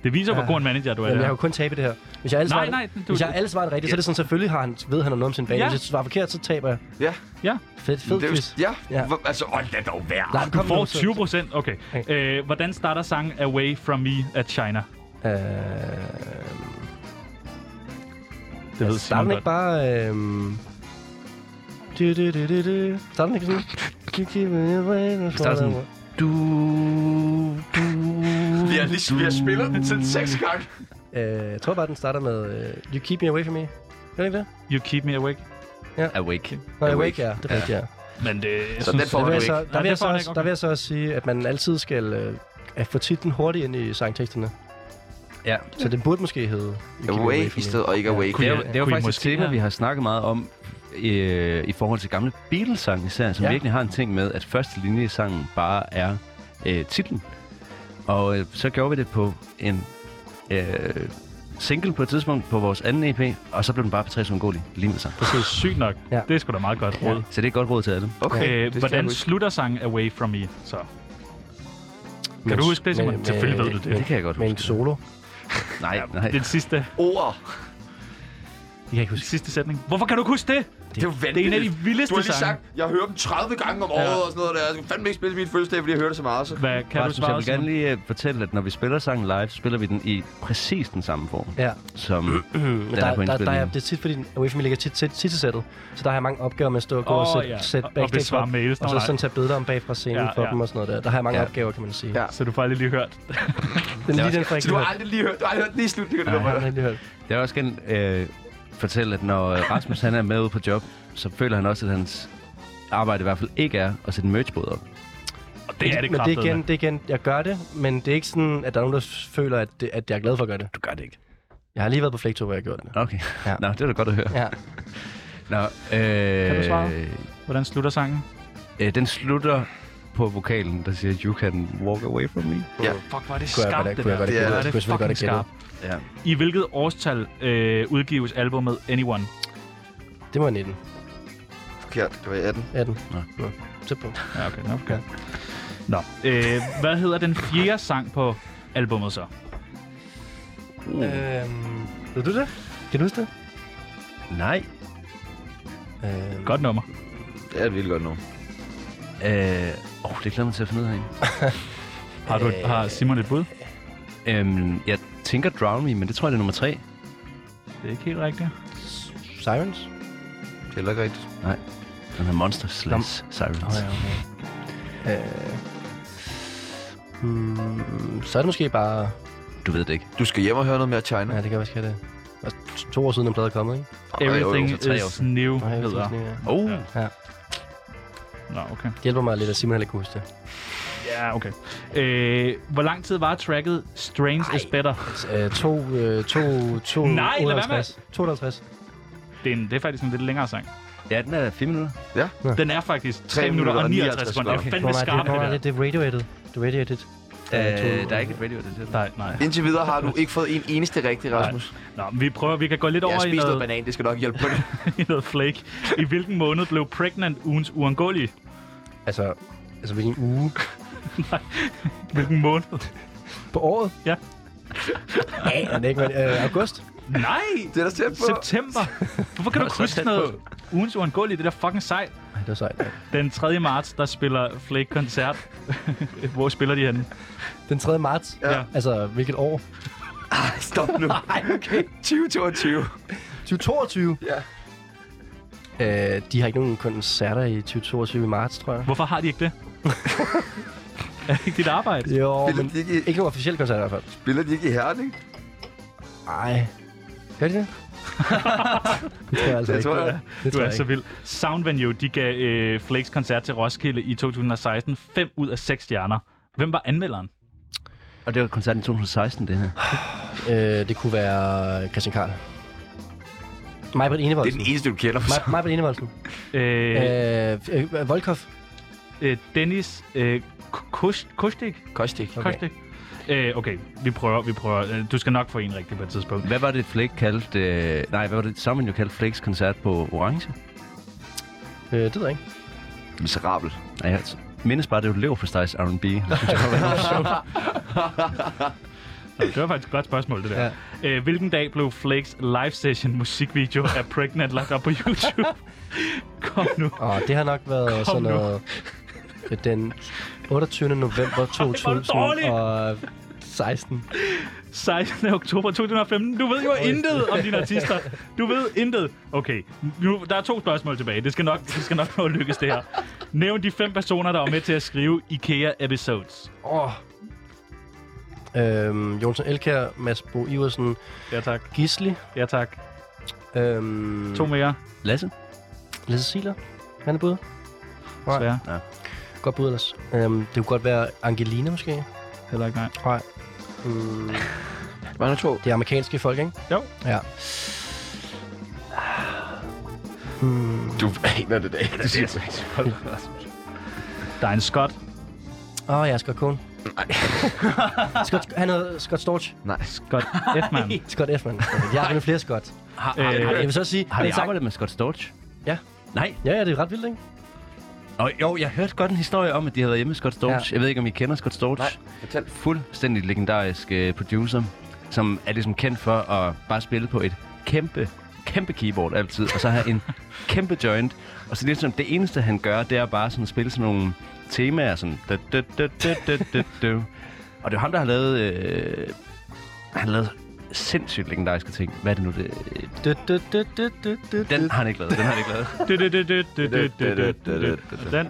Det viser, ja. hvor Ja. god en manager du er. Jamen, jeg der. har jo kun tabe det her. Hvis jeg har alle Nej, svarene, nej, du- hvis jeg har alle svarene rigtigt, så er det sådan, selvfølgelig har han, ved han noget om sin bane. Ja. Hvis jeg svarer forkert, så taber jeg. Ja. Ja. Fedt, fed Det er quiz. jo, Ja. ja, Hvor- altså, åh, lad dog være. Nej, Du kom får nu, så- 20 procent. Okay. Øh, hvordan starter sangen Away From Me af China? Øh, det ved ved Starter Simon den godt. ikke altså, bare... Øh, du, du, du, du, du. Starter den ikke sådan? You keep me away, no starter sådan. further. Du, du, Vi har, lige, vi har spillet den til seks gange. Øh, jeg tror bare, den starter med... Øh, you keep me away from me. Gør den ikke det? You Keep Me Awake. Awake. Nå, Awake. awake, awake ja. Det Ja. er rigtigt, ja. Men det, jeg Så synes, den får Der vil, du jeg ikke. så, der, Nej, vil jeg det får så han også, ikke, der vil jeg så også sige, at man altid skal øh, at få titlen hurtigt ind i sangteksterne. Ja. Så det burde måske hedde... You Keep Me Away From i Me. stedet, og ikke Ja. awake. Det er jo, Kunne I- det er jo kunne I faktisk et måske- tema, ja. vi har snakket meget om øh, i forhold til gamle Beatles-sange især, som Ja. ja. virkelig har en ting med, at første linje i sangen bare er øh, titlen. Og øh, så gjorde vi det på en øh, single på et tidspunkt på vores anden EP, og så blev den bare på tre sungoli lige med sig. det er sygt nok. Ja. Ja. Det er sgu da meget godt råd. Så det er et godt råd til alle. Okay, Ja. det Øh, skal hvordan jeg huske. slutter sangen Away From Me? Så. Kan Men- du huske det, Simon? men- Selvfølgelig ved men- du det. Det kan jeg godt Med en huske. solo. Nej, nej. Den sidste, Ord. Jeg kan ikke huske. sidste sætning. Hvorfor kan du ikke huske det? Det er jo vanvittigt. Det er en af de Du vildeste har lige sange. sagt, jeg hører dem 30 gange om året Ja. og sådan noget der. Jeg skal fandme ikke spille min fødselsdag, fordi jeg hører det så meget. Så. Hvad kan du Rasmus, jeg svare? vil gerne Simon? lige øh, fortælle, at når vi spiller sangen live, så spiller vi den i præcis den samme form, Ja. som Men den der, er på der, der, er, indspillingen. det er tit, fordi Away From Me ligger tit, tit, tit til sættet. Så der har jeg mange opgaver med at stå og gå Åh, og sætte, ja. ja. sætte Og- og backstage besvare op, mails, og så nej. sådan tage billeder om bag fra scenen Ja, ja, for ja. ja. dem og sådan noget der. Der har jeg mange Ja. ja. opgaver, kan man sige. Ja. Ja. Så du får aldrig lige hørt. Den lige den fra Så du har aldrig lige hørt, du har aldrig hørt den i slutningen af det Nej, nummer. jeg har aldrig hørt. Jeg vil også gerne øh, fortælle, at når øh, Rasmus han er med ude på job, så føler han også, at hans arbejde i hvert fald ikke er at sætte merch op. Det er det men det er, kraftedeme. igen, det er igen, jeg gør det, men det er ikke sådan, at der er nogen, der føler, at, det, at jeg er glad for at gøre det. Du gør det ikke. Jeg har lige været på Flægtog, hvor jeg har gjort det. Okay. Ja. Nå, det er da godt at høre. Ja. Nå, øh, Kan du svare? Hvordan slutter sangen? Øh, den slutter på vokalen, der siger, you can walk away from me. Ja. Fuck, hvor er det Kunne jeg skarpt, godt- det kunne jeg der. godt have Det er- gættet. hvor er det Kunne jeg selvfølgelig godt have fucking gættet. Ja. I hvilket årstal øh, udgives albumet Anyone? Det var 19. Forkert, det var i 18. 18. Nå. Nå. Tæt på. Ja, okay. Nå, okay. Nå. Øh, hvad hedder den fjerde sang på albumet så? Øhm, ved du det? Kan du huske det? Nej. Øhm, Godt nummer. Det er et vildt godt nummer. Øh, åh, det glæder mig til at finde ud af. Har, du, har Simon et bud? Øhm, jeg tænker Drown Me, men det tror jeg, det er nummer tre. Det er ikke helt rigtigt. Øhm, Sirens? Det er heller ikke rigtigt. Nej. Den hedder Monster Slash Sirens. Åh, ja, okay. Øh, hmm, så er det måske bare... Du ved det ikke. Du skal hjem og høre noget mere China. Ja, det kan være, skal det. Det var to år siden, den plade er kommet, ikke? Ej, jo, jo, Everything for tre år is siden. new Nej, jeg ved hedder. ikke, ja. Oh, Ja. Ja. Nå, okay. Det hjælper mig lidt, at Simon heller ikke kunne huske det. Ja, okay. Øh, hvor lang tid var tracket Strange Ej. is Better? Øh, to, øh, to, to, Nej, lad være med- 58. 52. Det er, en, det er faktisk en lidt længere sang. ja, den er fire minutter. Den er faktisk 3, Tre minutter og minutter og 59 sekunder. Det er Okay. Nå, fandme nej, skarpt, det, det nej, der. det, det er radioated. Det er radioated. Øh, der er ikke et radio, det er det. Nej, nej. Indtil videre har du ikke fået en eneste rigtig, Rasmus. Nå, men vi prøver, vi kan gå lidt Jeg over har i spist noget noget, banan, det skal nok hjælpe på det. i noget flake. I hvilken måned blev Pregnant ugens uangåelige? Altså, altså hvilken uge? Hvilken måned? På året? Ja. Ja, det er ikke, men, øh, august? Nej! Det er da tæt på. September! Hvorfor kan var du ikke så huske tæt noget? Ugens uangåelige, det er da fucking sejt. Ej, det var sejt. ja. Den 3. marts, der spiller Flake koncert. Hvor spiller de henne? Den 3. marts? Ja. Altså, hvilket år? Ej, stop nu. Nej, okay. 2022. 2022? Ja. Øh, de har ikke nogen koncerter i 2022 i marts, tror jeg. Hvorfor har de ikke det? er det ikke dit arbejde? Jo, Spiller men de ikke, i- ikke nogen officiel koncert i hvert fald. spiller de ikke i Herning? Nej. Gør de det? det tror jeg altså Det ikke. tror jeg. Det Du tror er jeg så ikke. vild. Sound Venue, de gav øh, Flakes koncert til Roskilde i 2016 5 ud af 6 stjerner. Hvem var anmelderen? Og det var koncerten i 2016, det her. Øh, det kunne være Christian Karl. Majbrit Det er Enevoldsen. den eneste, du kender. Maj- Majbrit Enevoldsen. Øh, øh. Øh, øh, Volkov. Øh, Dennis øh, K- Kush, Kushtik? Kostik. Okay. Kushtik? Øh, okay, vi prøver, vi prøver. Øh, Du skal nok få en rigtig på et tidspunkt. Hvad var det, Flake kaldte... Øh, nej, hvad var det, sammen jo kaldte Flakes koncert på Orange? Øh, det ved jeg ikke. Miserabel. Nej, jeg mindes bare, det var leverpostejs R&B. Det synes jeg godt var lidt sjovt. Det var faktisk et godt spørgsmål, det der. Ja. Øh, hvilken dag blev Flakes live session musikvideo af Pregnant lagt op på YouTube? Kom nu. Og det har nok været Kom sådan nu. noget... øh, Den 28. november dårligt. 2016. 16. oktober 2015. Du ved jo intet om dine artister. Du ved intet. Okay, nu, der er to spørgsmål tilbage. Det skal nok, det skal nok nå at lykkes, det her. Nævn de fem personer, der var med til at skrive IKEA-episodes. Åh. Øhm, Jonsson Elkær, Mads Bo Iversen, Ja tak. Gisli, Ja tak. øhm, To mere. Lasse? Lasse Siler, han er bud. Nej. Svær. Godt bud ellers. Øhm, det kunne godt være Angelina måske. Heller ikke nej. Nej. Mm, Var der to? det er amerikanske folk, ikke? Jo. Ja. Du aner det da ikke. Det siger jeg. Der er en skot. Åh, oh, ja, Scott Cohn. Nej. Scott, han hedder Scott Storch. Nej. Scott F-man. Scott Effman. Jeg har fundet flere Scott. Har, Øh, har, Ej, jeg vil så sige... har det de er sagt- arbejdet med Scott Storch? Ja. Nej. Ja, ja, det er ret vildt, ikke? Og jo, jeg hørte godt en historie om, at de havde været hjemme med Scott Storch. Ja. Ja. Jeg ved ikke, om I kender Scott Storch. Nej, fortæl. Fuldstændig legendarisk øh, producer, som er ligesom kendt for at bare spille på et kæmpe, kæmpe keyboard altid. Og så have en kæmpe joint. Og så ligesom det eneste, han gør, det er bare sådan at spille sådan nogle temaer. Sådan... Da, da, da, da, da, da, da. Og det er jo ham, der har lavet... Øh, han har lavet sindssygt legendariske ting. Hvad er det nu? Det, Du, du, du, du, du, du. den har han ikke lavet. Den har han ikke lavet. Du, du, du, du, du, du, du, du, du. Den.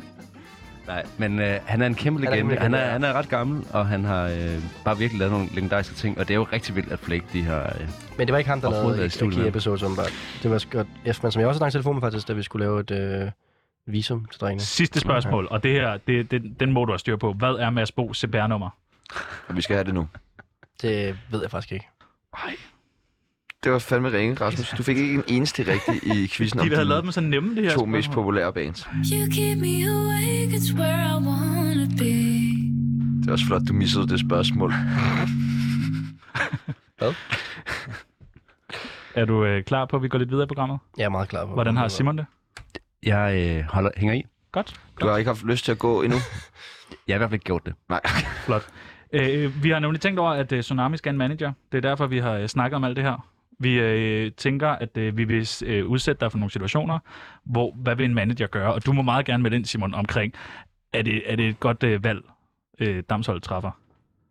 Nej, men øh, han er en kæmpe Han er en legende. kæmpe Han er, legende, han er ret gammel, og han har øh, bare virkelig lavet nogle legendariske ting. Og det er jo rigtig vildt, at Flake, de har... Øh, Men det var ikke ham, der Overhovedet lavede været i studiet med ham. IKEA-episode, som var... Det var Scott Effman, som jeg også snakkede i telefon med faktisk, da vi skulle lave et øh, visum til drengene. Sidste spørgsmål, og det her, det, det, den må du have styr på. Hvad er Mads Bo CPR-nummer? Og vi skal have det nu. Det ved jeg faktisk ikke. Det var fandme ringe, Rasmus. Du fik ikke en eneste rigtig i quizzen om De havde dine lavet dem så nemme, det her to mest populære bands. You keep me awake, it's where I wanna be. Det er også flot, du missede det spørgsmål. Hvad? Er du øh, klar på, at vi går lidt videre i programmet? Jeg er meget klar på. Hvordan har Simon det? Jeg øh, holder, hænger i. Godt. Du har ikke haft lyst til at gå endnu? Jeg har i hvert fald ikke gjort det. Nej. Flot. Øh, vi har nemlig tænkt over, at øh, Tsunami skal have en manager. Det er derfor, vi har øh, snakket om alt det her. Vi øh, tænker, at øh, vi vil øh, udsætte dig for nogle situationer, hvor hvad vil en manager gøre? Og du må meget gerne melde ind, Simon, omkring, er det, er det et godt øh, valg, øh, Damshold træffer?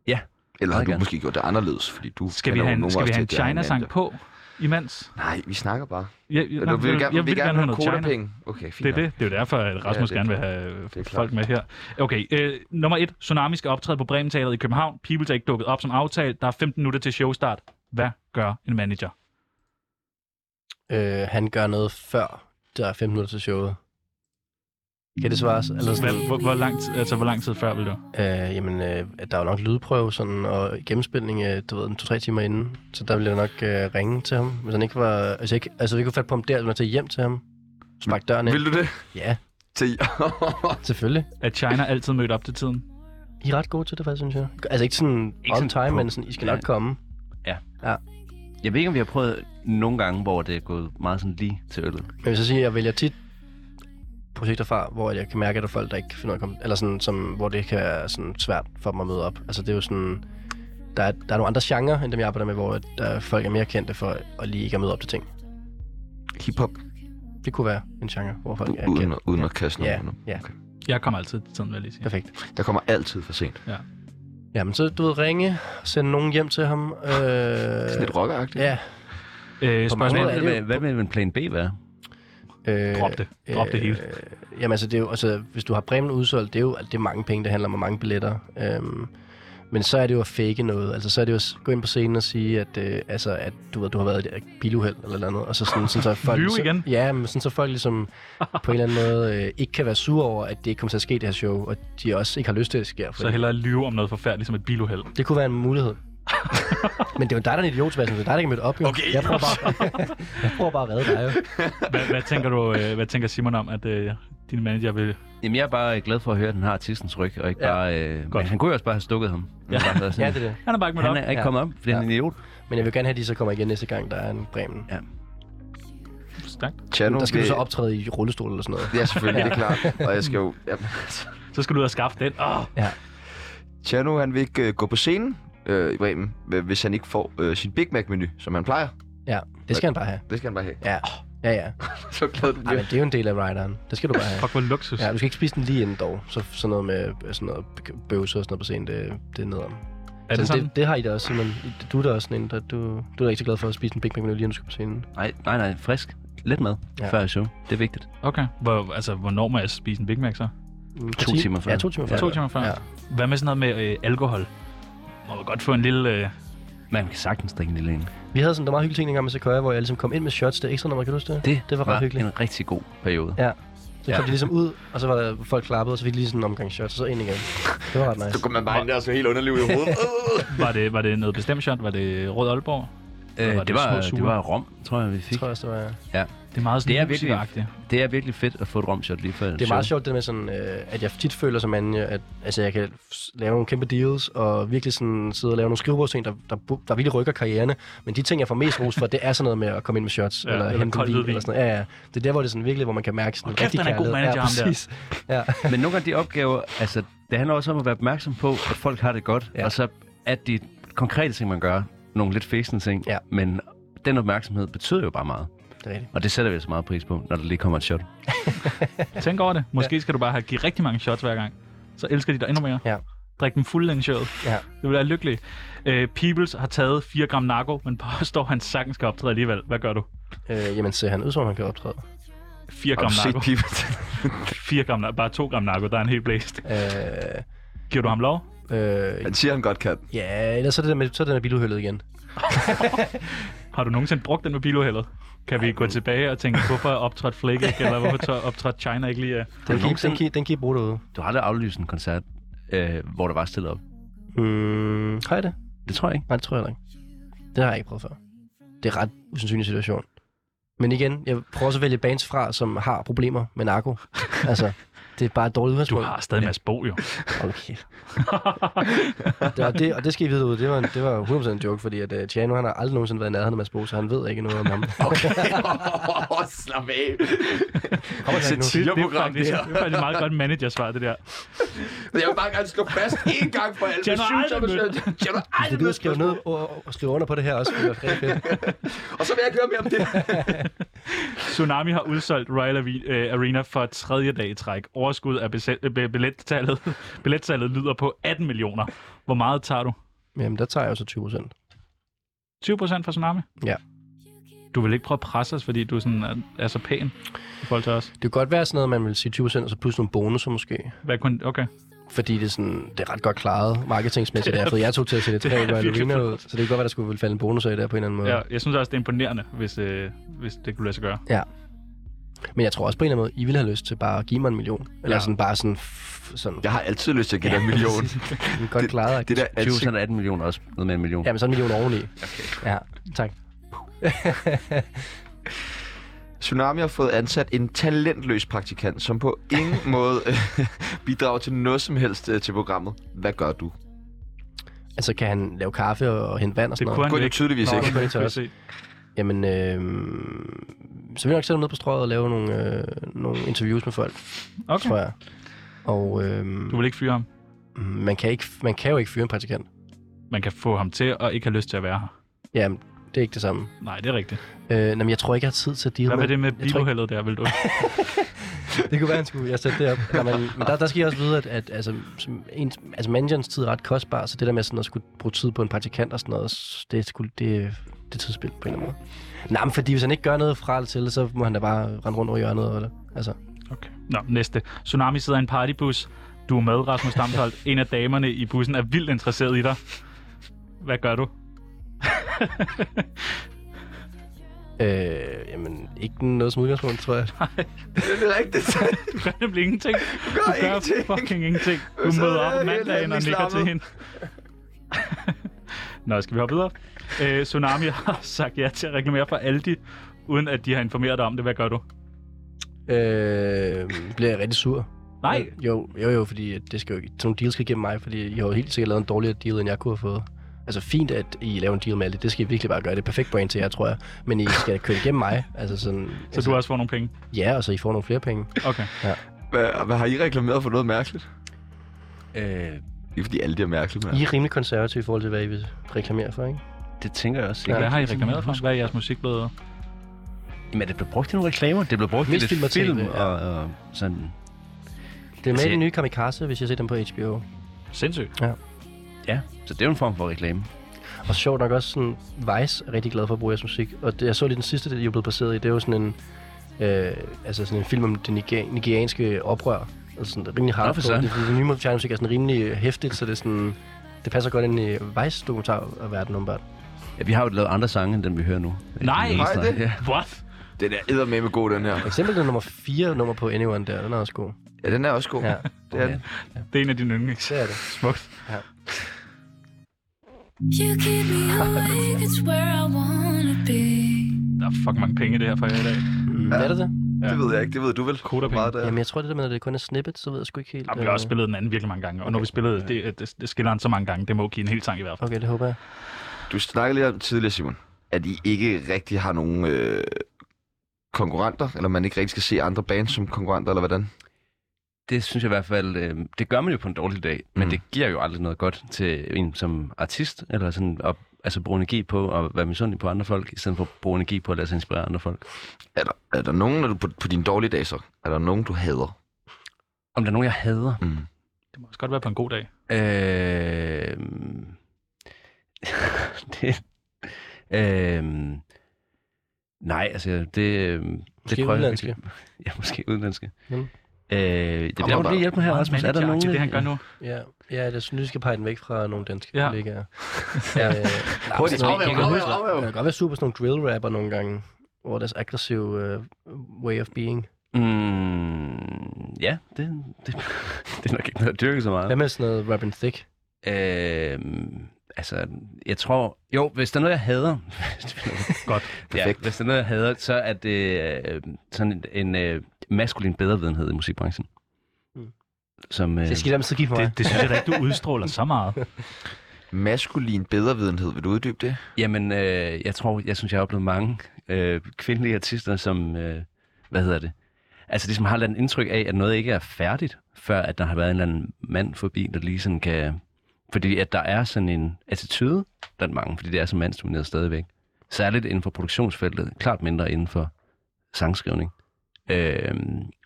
Ja. Eller har Meget du gerne. måske gjort det anderledes, fordi du Skal vi kender have nogle en, skal af vi os have en til, at de har China-sang manager. på imens? Nej, vi snakker bare. Jeg, jeg, Eller du vil gerne- vil gerne have China. kvotepenge. Okay, fint det er nok. det. Det er jo derfor, at Rasmus det ja, er gerne vil klart. have Det er folk med her. Okay, øh, nummer et. Tsunami skal optræde på Bremen Teateret i København. Peoples er ikke dukket op som aftalt. Der er 15 minutter til showstart. Hvad gør en manager? Øh, han gør noget før, der er 15 minutter til showet. Kan det svares? Eller sådan, Altså, Hvad, hvor, hvor, lang tid, altså, hvor lang tid før vil du? øh, jamen, øh, der er jo nok lydprøve sådan, og gennemspilning, øh, du ved, en to-tre timer inden. Så der ville jeg nok øh, ringe til ham, hvis han ikke var... Altså, ikke, altså vi kunne fat på ham der, hvis man tage hjem til ham. Spark døren ind. Vil du det? Ja, Til... selvfølgelig. At China altid mødt op til tiden? I er ret gode til det, faktisk, synes jeg. Altså ikke sådan Ikke ikke on sådan time, på- men sådan, I skal Ja. nok komme. Ja. Ja. Jeg ved ikke, om vi har prøvet nogle gange, hvor det er gået meget sådan lige til øllet. Men jeg vil så sige, at jeg vælger tit projekter fra, hvor jeg kan mærke, at der er folk, der ikke finder ud af at komme, eller sådan, som, hvor det kan være sådan svært for dem at møde op. Altså det er jo sådan, der er, der er nogle andre genrer, end dem jeg arbejder med, hvor der folk er mere kendte for at lige ikke at møde op til ting. Hip-hop, Det kunne være en genre, hvor folk er uden, kendte. uden at kaste Ja, nogen. under. ja, Jeg kommer altid til tiden, vil jeg lige sige. Øh, perfekt. Jeg kommer altid for sent. Jamen så, du ved, ringe, sende nogen hjem til ham. Øh, Sådan lidt rockeragtigt. Ja. Øh, På mange spørgsmål? måder er Hvad det jo- med, hvad med en plan B være? Øh, Drop det. Drop det hele. Øh, jamen altså, det er jo, altså, hvis du har Bremen udsolgt, det er jo altså, det er mange penge, det handler om, og mange billetter. Øhm, men så er det jo at fake noget. Altså, så er det jo at s- gå ind på scenen og sige, at, øh, altså, at du, ved, du har været i et øh, biluheld eller noget andet. Og så sådan, sådan så folk, Lyve så, igen? Ja, men sådan, så folk ligesom på en eller anden måde øh, ikke kan være sure over, at det ikke kommer til at ske det her show. Og de også ikke har lyst til, at det sker. Så fordi- hellere lyve om noget forfærdeligt som et biluheld. Det kunne være en mulighed. men det er jo dig, der er en idiot, Sebastian. Det er dig, der ikke er mødt op. Jo. Okay. Jeg prøver bare, jeg prøver bare at redde dig. Jo. Hvad, hvad, tænker, du, øh, hvad tænker Simon om, at øh, din manager vil... Jamen, jeg er bare øh, glad for at høre, at den har artistens ryg, og ikke Ja. ja. bare... Øh, Godt. men han kunne jo også bare have stukket ham. Ja, Ja, det er det. Han er bare ikke mødt op. Han er ikke Ja. kommet op, fordi ja. han er en idiot. Men jeg vil gerne have, at de så kommer igen næste gang, der er en Bremen. Stærkt. Chano, Der skal det- du så optræde i rullestol eller sådan noget. Ja, selvfølgelig, det er klart. Og jeg skal jo... Ja. Så skal du ud og skaffe den. Oh, Chano, han vil ikke øh, gå på scenen øh, i Bremen, øh, hvis han ikke får øh, sin Big Mac-menu, som han plejer. Ja, det skal han bare have. Det skal han bare have. Ja, ja, ja. Så glad du Ej, bliver. men det er jo en del af rideren. Det skal du bare have. fuck, hvor luksus. Ja, du skal ikke spise den lige inden dog. Så sådan noget med øh, sådan noget bøvse og sådan noget på scenen, det, det er nedom. er det så sådan? Det, det, har I da også, men du er da også sådan en, der, du, du er da ikke så glad for at spise en Big Mac menu lige inden du skal på scenen. Nej, nej, nej. Frisk. Lidt mad Ja. ja. før show. Det er vigtigt. Okay. Hvor, altså, hvornår må jeg spise en Big Mac så? Mm, To ti- timer før. Ja, to timer før. To timer før. Ja. Hvad med sådan noget med øh, alkohol? Må man godt få en lille... Øh... Man kan sagtens drikke en lille en. Vi havde sådan en meget hyggelig ting dengang med Sequoia, hvor jeg ligesom kom ind med shots. Det er ekstra nummer, kan du huske det? Det, det var ret hyggeligt. en rigtig god periode. Ja. Så kom de ligesom ud, og så var der folk klappede, og så fik de lige sådan en omgang shots, og så ind igen. Det var ret nice. Så går man bare ind der og så helt underliv i hovedet. Øh. Var det, var det noget bestemt shot? Var det Rød Aalborg? Øh, var det, det det, var, små sure? det var Rom, tror jeg, vi fik. Tror jeg også, det var... Det er meget sådan Det er virkelig- musikeragtigt. Det er virkelig fedt at få et romshot lige før Det er meget sjovt, det med sådan, øh, at jeg tit føler som Anja, at altså, jeg kan s- lave nogle kæmpe deals, og virkelig sådan sidde og lave nogle skrivebordsting, der, der, bu- der virkelig rykker karrierne. Men de ting, jeg får mest ros for, det er sådan noget med at komme ind med shots, Ja, ja, eller eller hente en kold vin, hvidvin. eller sådan noget. Ja, ja. Det er der, hvor det er sådan virkelig, hvor man kan mærke sådan Hold kæft, rigtig han er en god kærlighed. manager, ham der. ja, præcis. Ja. Men nogle gange de opgaver, altså, det handler også om at være opmærksom på, at folk har det godt, Ja. ja. og så at de konkrete ting, man gør, nogle lidt fæsende ting, Ja. men den opmærksomhed betyder jo bare meget. Det er rigtigt. Og det sætter vi så meget pris på, når der lige kommer et shot. Tænk over det. Måske skal du bare have give rigtig mange shots hver gang. Så elsker de dig endnu mere. Ja. Drik dem fuld den showet. Ja. Det vil være lykkeligt. Øh, Peoples har taget 4 gram narko, men påstår, at han sagtens skal optræde alligevel. Hvad gør du? Øh, jamen, ser han ud, som om han kan optræde. 4 Har gram du set narko. Pibet? 4 gram narko. Bare 2 gram narko, der er en helt blæst. Øh, Giver du ham lov? øh, Han siger, han godt kan. ja, ellers så er det der med, så er det der biluhældet igen. Har du nogensinde brugt den med biluheldet? Kan vi gå tilbage og tænke, hvorfor optrådte Flake ikke, eller hvorfor tør- optrådte China ikke lige? øh? Den kan, den, kan, den kan I bruge derude. Du har aldrig aflyst en koncert, øh, hvor der var stillet op. Mm, har jeg det? Det tror jeg ikke. Nej, det tror jeg heller ikke. Det har jeg ikke prøvet før. Det er en ret usandsynlig situation. Men igen, jeg prøver også at vælge bands fra, som har problemer med narko. Altså, det er bare et dårligt udgangspunkt. Du har stadig Mads Bo, jo. Okay. det var det, og det skal I vide ud. Det var, en, det var 100% en joke, fordi at uh, Tjano, han har aldrig nogensinde været i nærheden af Mads Bo, så han ved ikke noget om ham. Okay. Åh, slap af. Kom Det er et satireprogram, det det, her. er faktisk et meget godt managersvar, det der. Men jeg vil bare gerne slå fast en gang for alle. Jeg har Synes, aldrig jeg vil- Jeg har aldrig Hvis du gider mødt skrive spørgsmål. ned og, og skrive under på det her også, det er rigtig fedt. Og så vil jeg ikke høre mere om det. Tsunami har udsolgt Royal Avi- øh, Arena for tredje dag i træk. Overskud af bese- øh, be- billettallet, billettallet lyder på 18 millioner. Hvor meget tager du? Jamen, der tager jeg også 20%. 20 procent fra Tsunami? Ja. Du vil ikke prøve at presse os, fordi du sådan er, er så pæn i forhold til os? Det kunne godt være sådan noget, man vil sige 20%, og så pludselig nogle bonusser måske. Hvad kun, okay. Fordi det er, sådan, det er ret godt klaret marketingsmæssigt. Jeg har fået jer to til at sætte Det er tre Royal virkelig Arena flot. ud, så det kan godt være, der skulle falde en bonus af der på en eller anden måde. Ja, jeg synes også, det er imponerende, hvis, øh, hvis det kunne lade sig gøre. Ja. Men jeg tror også på en eller anden måde, I ville have lyst til bare at give mig en million. Eller Ja. ja. sådan bare sådan... F- sådan Jeg har altid lyst til at give dig en million. en godt klaret. Det der 20 ansigt. procent af 18 millioner også. Noget med en million. Jamen, så en million oveni. Okay. Ja, tak. Tsunami har fået ansat en talentløs praktikant, som på ingen måde øh, bidrager til noget som helst øh, til programmet. Hvad gør du? Altså, kan han lave kaffe og, og hente vand og sådan Det kunne noget? han Kunne det jo ikke. tydeligvis Nå, ikke. det kunne han ikke Kunne jeg også. se. Jamen, øh, så vil jeg nok sætte ham ned på strøget og lave nogle, øh, nogle interviews med folk, okay. tror Okay. jeg. Og øh, Du vil ikke fyre ham. man, kan ikke, man kan jo ikke fyre en praktikant. Man kan få ham til at ikke have lyst til at være her. Jamen, det er ikke det samme. Nej, det er rigtigt. Øh, nej, men jeg tror ikke, jeg har tid til at deal Hvad var med... det med jeg tror ikke- biluheldet der, vil du? Det kunne være, han skulle jeg sætte det op. Nej, men, men der, der skal jeg også vide, at, at altså, som ens, altså managerens tid er ret kostbar, så det der med sådan at skulle bruge tid på en praktikant og sådan noget, s- det er, sgu- det, det er tidsspil på en eller anden måde. Nej, men fordi hvis han ikke gør noget fra eller til, så må han da bare rende rundt over hjørnet. Eller, altså, Okay. Nå, næste. Tsunami sidder i en partybus. Du er med, Rasmus Damsholdt. En af damerne i bussen er vildt interesseret i dig. Hvad gør du? øh, jamen, ikke noget som udgangspunkt, tror jeg. Det er rigtigt. Du gør nemlig ingenting. Du gør, ingenting. fucking ingenting. Du Så møder er op jeg mandagen helt og nikker til slammet. hende. Nå, skal vi hoppe videre? Øh, Tsunami har sagt ja til at reklamere for Aldi, uden at de har informeret dig om det. Hvad gør du? Øh, bliver jeg rigtig sur. Nej, Øh, Jo, jo, jo, fordi at det skal jo, ikke- sådan nogle deals skal igennem mig, fordi I har jo helt sikkert lavet en dårligere deal, end jeg kunne have fået. Altså fint, at I laver en deal med det. Det skal I virkelig bare gøre. Det er perfekt brand til jer, tror jeg. Men I skal køre det igennem mig. Altså sådan, så du også får nogle penge. Ja, og så I får nogle flere penge. Okay. Hvad, hvad har I reklameret for noget mærkeligt? Øh, Det er fordi alle de er mærkelige. Men I er rimelig konservative i forhold til, hvad I vil reklamere for, ikke? det tænker jeg også. Hvad har I reklameret for? Hvad er jeres musik blevet? Men er det blevet brugt i nogle reklamer? Det blev brugt i Mest lidt film og film, tv, film ja. og, og sådan... Det er med Altså, i den nye Kamikaze, hvis jeg ser den på HBO. Sindssygt. Ja, så det er jo en form for reklame. Og sjovt nok også sådan, Vice er rigtig glad for at bruge jeres musik. Og det, jeg så lige den sidste, det I er blevet baseret i, det er jo sådan en, øh, altså sådan en film om det niger- nigerianske oprør. Altså sådan, det er rimelig Nå, for hardcore. søren. Det, det, det nye moderne musik er sådan rimelig hæftigt, så det er sådan, det passer godt ind i Vice dokumentar af verden, åbenbart. Ja, vi har jo lavet andre sange, end den vi hører nu. Nej! Øh, Nej, det- Ja. What? Den er eddermame god, den her. For eksempel den nummer 4 nummer på Anyone der, den er også god. Ja, den er også god. Ja, Det er den. Det er en af dine yndlings. det er det. Smukt. You keep me awake, it's where I wanna be. Der er fucking mange penge i det her for jer i dag. Mm. Er det det? Det ved jeg ikke. Det ved du vel. Kodapenge. Hvor meget det er. Jamen, jeg tror, det der med, at det kun er snippet, så ved jeg sgu ikke helt. Og vi har øh, også spillet den anden virkelig mange gange. Og når vi spillede, det, det, det skiller han så mange gange. Det må give en hel sang i hvert fald. øh, Okay, det håber jeg. Du snakkede lige om tidligere, Simon, at I ikke rigtig har nogen øh, konkurrenter, eller man ikke rigtig skal se andre bands som konkurrenter, eller hvordan? Det synes jeg i hvert fald, øh, det gør man jo på en dårlig dag, men Mm. det giver jo aldrig noget godt til en som artist, eller sådan at altså, bruge energi på at være misundelig på andre folk, i stedet for at bruge energi på at lade sig inspirere af andre folk. Er der, er der nogen, når du på, på dine dårlige dage så, er der nogen, du hader? Om der er nogen, jeg hader? Mm. Det må også godt være på en god dag. Øh, det, øh, nej, altså det, øh, det Måske prøver jeg udenlandske. virkelig- Ja, måske udenlandske. Mm. Mm. Øh, det Kom, bliver kom, jo lige hjælpe mig her, Meget Rasmus. Er der nogen? manageragtigt, det han gør nu. Ja, ja det synes, jeg skal pege den væk fra nogle danske Ja. ja. kollegaer. ja. Øh, nej, men sådan noget- afværg, jeg kan godt- afværg, afværg. Jeg kan godt være super sådan nogle drill rapper nogle gange. over deres aggressive øh, way of being. Mm, ja, det, det, det er nok ikke noget at dyrke så meget. Hvad med sådan noget Robin Thicke? Øh, altså, jeg tror... Jo, hvis der er noget, jeg hader... Godt, perfekt. Ja, hvis der er noget, jeg hader, så er det øh, sådan en, en øh, maskulin bedrevidenhed i musikbranchen. Mm. Som, øh, Det skal I da med give mig. Det, det synes jeg da ikke, du udstråler så meget. Maskulin bedrevidenhed, vil du uddybe det? Jamen, øh, jeg tror, jeg synes, jeg har oplevet mange øh, kvindelige artister, som, øh, hvad hedder det? Altså, de som har et eller andet indtryk af, at noget ikke er færdigt, før at der har været en eller anden mand forbi, der lige sådan kan... Fordi at der er sådan en attitude blandt mange, fordi det er så mandsdomineret stadigvæk. Særligt inden for produktionsfeltet, klart mindre inden for sangskrivning. Øh,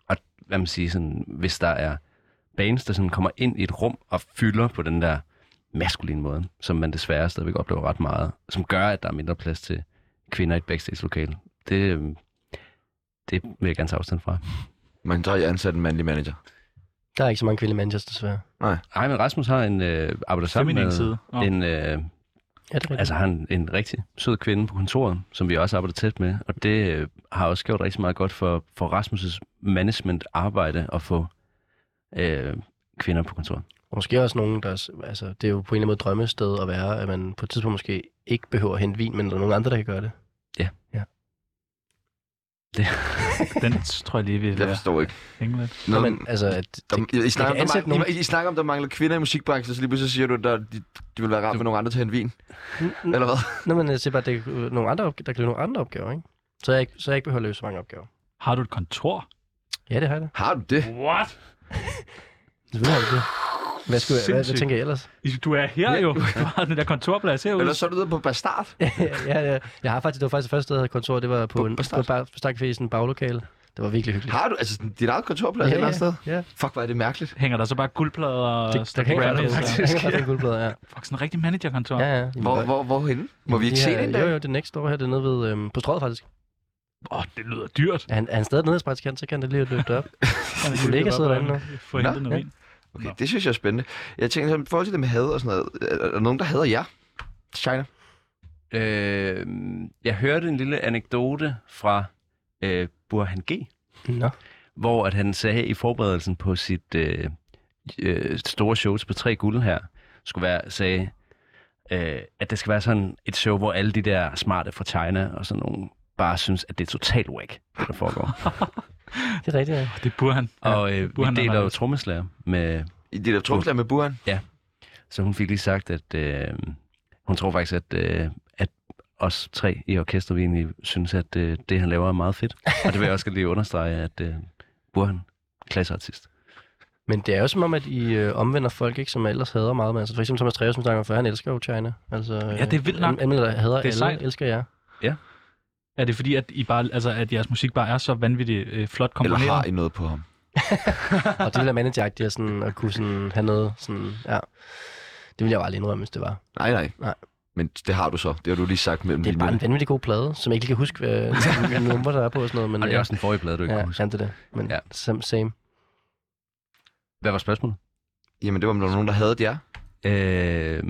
og hvad man siger, sådan, hvis der er bands, der sådan kommer ind i et rum og fylder på den der maskuline måde, som man desværre stadigvæk oplever ret meget, som gør, at der er mindre plads til kvinder i et backstage-lokale. Det, øh, det vil jeg gerne tage afstand fra. Men så har jeg ansat en mandlig manager. Der er ikke så mange kvindelige managers, desværre. Nej. Ej, men Rasmus har en, øh, arbejder sammen Feminin med side. Nå. en, øh, Ja, det er altså har en, en rigtig sød kvinde på kontoret, som vi også arbejder tæt med, og det øh, har også gjort rigtig meget godt for, for Rasmus' management-arbejde at få øh, kvinder på kontoret. Og måske også nogen, der... s- Altså, det er jo på en eller anden måde et drømmested at være, at man på et tidspunkt måske ikke behøver at hente vin, men der er nogen andre, der kan gøre det. Ja. ja. Den tror jeg lige, vi Jeg forstår ikke. hænge lidt. Nå, men altså, at det, Om, I, man I, snakker kan om, der ansætte mangler, nogen. I, I snakker om, der mangler kvinder i musikbranchen, så lige pludselig siger du, at der, de, de vil være rart med nogle andre til at hente vin. Eller hvad? Nå, men jeg siger bare, at det er øh, nogle andre, opga- der kan løse nogle andre opgaver, ikke? Så jeg, ikke- så jeg ikke behøver at løse så mange opgaver. Har du et kontor? Ja, det har jeg da. Har du det? What? Selvfølgelig har jeg det. Hvad, skulle jeg, hvad, hvad Sindssygt. tænker jeg ellers? I- Du er her jo. Du har den der kontorplads herude. Eller så er du ude på Bastard. ja, ja, jeg har faktisk, det var faktisk det første sted, jeg havde kontor, det var på, på en, på Bastard? bar, på Stakcafé i sådan en baglokale. Det var virkelig hyggeligt. Har du altså sådan dit eget kontorplads Ja, et eller andet ja, sted? ja. Fuck, hvor er det mærkeligt. Hænger der så bare guldplader og Det, der Stan kan ikke Grammys være og- faktisk. Der kan guldblader, ja. Fuck, sådan en rigtig managerkontor. Ja, ja. Hvor, hvor, hvorhenne? Må vi ikke De se her- det en Jo, dag? jo, det er next door her, det er nede ved, øhm, på strøget faktisk. Åh, oh, det lyder dyrt. Er han, er han stadig nede hos praktikant, så kan det lige løbe op. Min kollega sidder derinde nu. Få hentet Nå, noget ja. vin. Okay, det synes jeg er spændende. Jeg tænker sådan, i forhold til det med had og sådan noget, er er der nogen, der hader jer? China. Øh, jeg hørte en lille anekdote fra øh, Burhan G., Nå. hvor at han sagde i forberedelsen på sit øh, øh, store show på tre guld her, skulle være, sagde, øh, at det skal være sådan et show, hvor alle de der smarte fra China og sådan nogle bare synes, at det er totalt whack, det der foregår. Det er rigtigt, ja. Det burde han. og øh, vi Burhan er deler jo nice. trommeslager med I det der tromslag med Burhan? Ja. Så hun fik lige sagt, at øh, hun tror faktisk, at, øh, at os tre i orkestret, vi egentlig synes, at øh, det, han laver, er meget fedt. Og det vil jeg også gerne lige understrege, at øh, Burhan, klasseartist. Men det er jo som om, at I øh, omvender folk, ikke, som ellers hader meget. Men altså, for eksempel Thomas Treves, som snakker om før, han elsker jo China. Altså, Ja, det er vildt nok. Emil, der hader Det er alle, sejt. elsker jer. Er det fordi, at, I bare, altså, at jeres musik bare er så vanvittigt øh, flot Eller komponeret? har I noget på ham? Og det ville være manageragtigt at, sådan, at kunne sådan, have noget sådan, ja. Det ville jeg bare aldrig indrømme, hvis det var. Nej, nej. Nej. Men det har du så. Det har du lige sagt mellem Det er bare en linjerne. vanvittig god plade, som jeg ikke lige kan huske, hvad hvilke numre der er på og sådan noget. Men, Og det ja. er også den forrige plade, du ikke ja, kan huske. Ja, det er det. Men Ja. ja. same. same. Hvad var spørgsmålet? Jamen, det var, om der var nogen, der havde jer. Øh,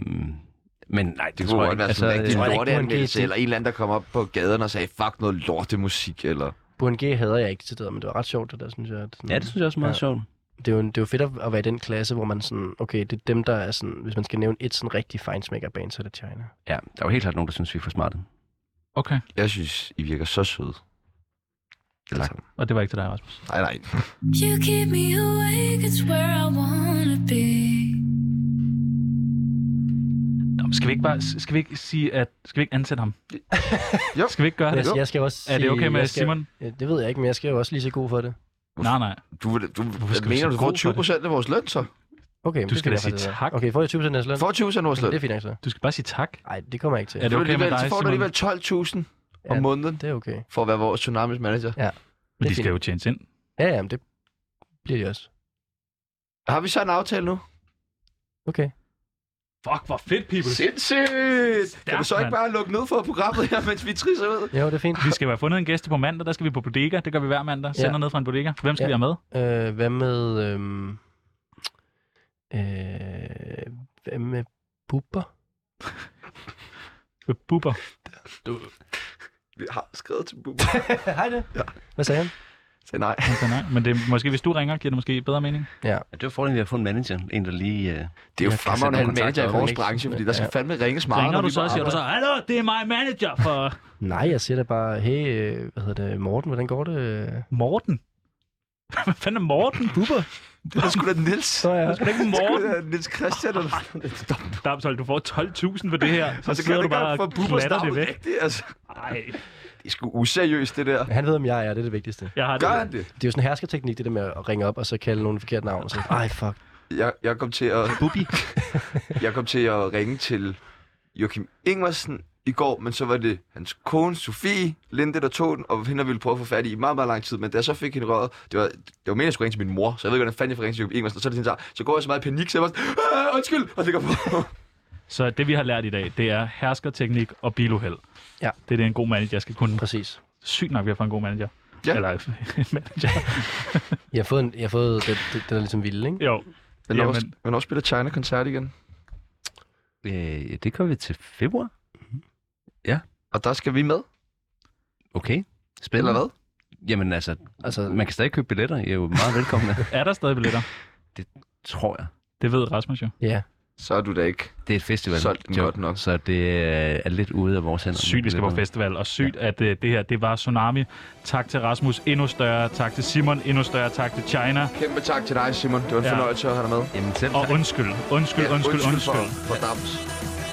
men nej, det, Det tror kunne jeg godt ikke. være altså, sådan en tror rigtig ikke, Burhan G lorteanmeldelse, til- eller en eller anden, der kom op på gaden og sagde, fuck noget lortemusik, eller... Burhan G hader jeg ikke til det, men det var ret sjovt, det der, synes jeg. at Sådan, ja, det synes jeg også er meget Ja. ja. sjovt. det, er jo, det er jo fedt at, at være i den klasse, hvor man sådan, okay, det er dem, der er sådan, hvis man skal nævne et sådan rigtig fejnsmækkerband, så er det China. Ja, der var helt klart nogen, der synes, vi er for smarte. Okay, Jeg synes, I virker så søde. Eller, og det var ikke til dig, Rasmus. nej, nej. You keep me awake, it's where I wanna be. Nå, men skal vi ikke bare skal vi ikke sige, at skal vi ikke ansætte ham? Jo. Skal vi ikke gøre det? Jeg, jeg skal også Er det okay sige- med jeg skal, Simon? Ja, Det ved jeg ikke, men jeg skal jo også lige så god for det. Nej, nej. Du, vil- du, skal du vi mener, så du gro får for det? 20 procent af vores løn, så? Okay, men Du det skal da jeg sige faktisk- tak. Okay, får jeg 20 procent af jenes løn? Får 20 procent af vores Okay, løn. det er fint, altså. Du skal bare sige tak. Nej, det kommer jeg ikke til. Er det okay med Alligevel, dig, så får du Simon? alligevel 12.000 om Ja. måneden Det er okay. for at være vores Tsunamis manager. Men Det de er skal jo fint. tjenes ind. Ja, ja, men det bliver de også. Har vi så en aftale nu? Okay. Fuck, hvor fedt, people. Sindssygt! Kan du så ikke mand. bare lukke ned for programmet her, mens vi trisser ud? Jo, det er fint. Vi skal jo have fundet en gæst på mandag. Der skal vi på bodega. Det gør vi hver mandag. Sender Ja. ned fra en bodega. Hvem skal Ja. vi have med? Øh, hvad med... Øhm, øh, hvad med Bubber? Bubber. Vi har skrevet til Bubber. Hej det. Ja. Hvad sagde han? Sagde nej. Han sagde nej. Men det, er måske, hvis du ringer, giver det måske bedre mening. Ja. Det er jo fordelen, at vi har fået en manager. En, der lige... Øh, Det er jo fremragende at have en manager i vores branche, fordi der skal fandme ringes meget. Ringer når du vi så er og på siger du så, arbejde. hallo, det er mig manager for... Nej, jeg siger da bare, hey, øh, hvad hedder det, Morten, hvordan går det? Morten? Hvad fanden er Morten? Bubber? Det er sgu da Nils. Så er jeg. Det er ikke Morten. Det er Nils Christian. Eller... Damshold, du får 12.000 for det her. Så, Og så så kan sidder du du bare godt få og Bubbers klatter navn det væk. rigtigt. Altså. Nej, Det er sgu useriøst, det der. Han ved, om jeg er, det er det vigtigste. jeg har det. Gør han det? Det er jo sådan en herskerteknik, det der med at ringe op og så kalde nogen forkert navn. Og så, Ej, fuck. Jeg, jeg kom til at... Bubi. Jeg kom til at ringe til Joachim Ingersen i går, men så var det hans kone, Sofie Linde, der tog den, og hende ville prøve at få fat i i meget, meget lang tid. Men da jeg så fik hende røret, det var, det var meningen, at jeg skulle ringe til min mor, så jeg ved ikke, hvordan fanden jeg får ringe til Joachim Ingersen. Og så, er det hende, så, så går jeg så meget i panik, så jeg var sådan, "Ah, undskyld, og ligger på. Så det, vi har lært i dag, det er herskerteknik og biluheld. Ja. Det er det, en god manager skal kunne. Præcis. Sygt nok, vi har fået en god manager. Ja. Eller en manager. Jeg har fået, en, jeg har fået den, den, den er ligesom vild, ikke? Jo. Men Jamen. når, hvornår spiller China koncert igen? øh, det gør vi til februar. Og der skal vi med, Okay. eller Spændende. hvad? Jamen altså, Altså- altså, man kan stadig købe billetter. I er jo meget velkomne, Er der stadig billetter? tror jeg. Det ved Rasmus jo. Ja. Så er du da ikke. Det er et festival. Solgt den jo, godt nok. Så det øh, er lidt ude af vores hænder. Sygt, vi skal på Billetterne. festival, og sygt, at uh, det her, det var Tsunami. Tak til Rasmus, endnu større. Tak til Simon, endnu større. Tak til China. Kæmpe tak til dig, Simon. Det var en Ja. fornøjelse at have dig med. Jamen selv Og tak. undskyld, undskyld, undskyld, undskyld. for, for dams.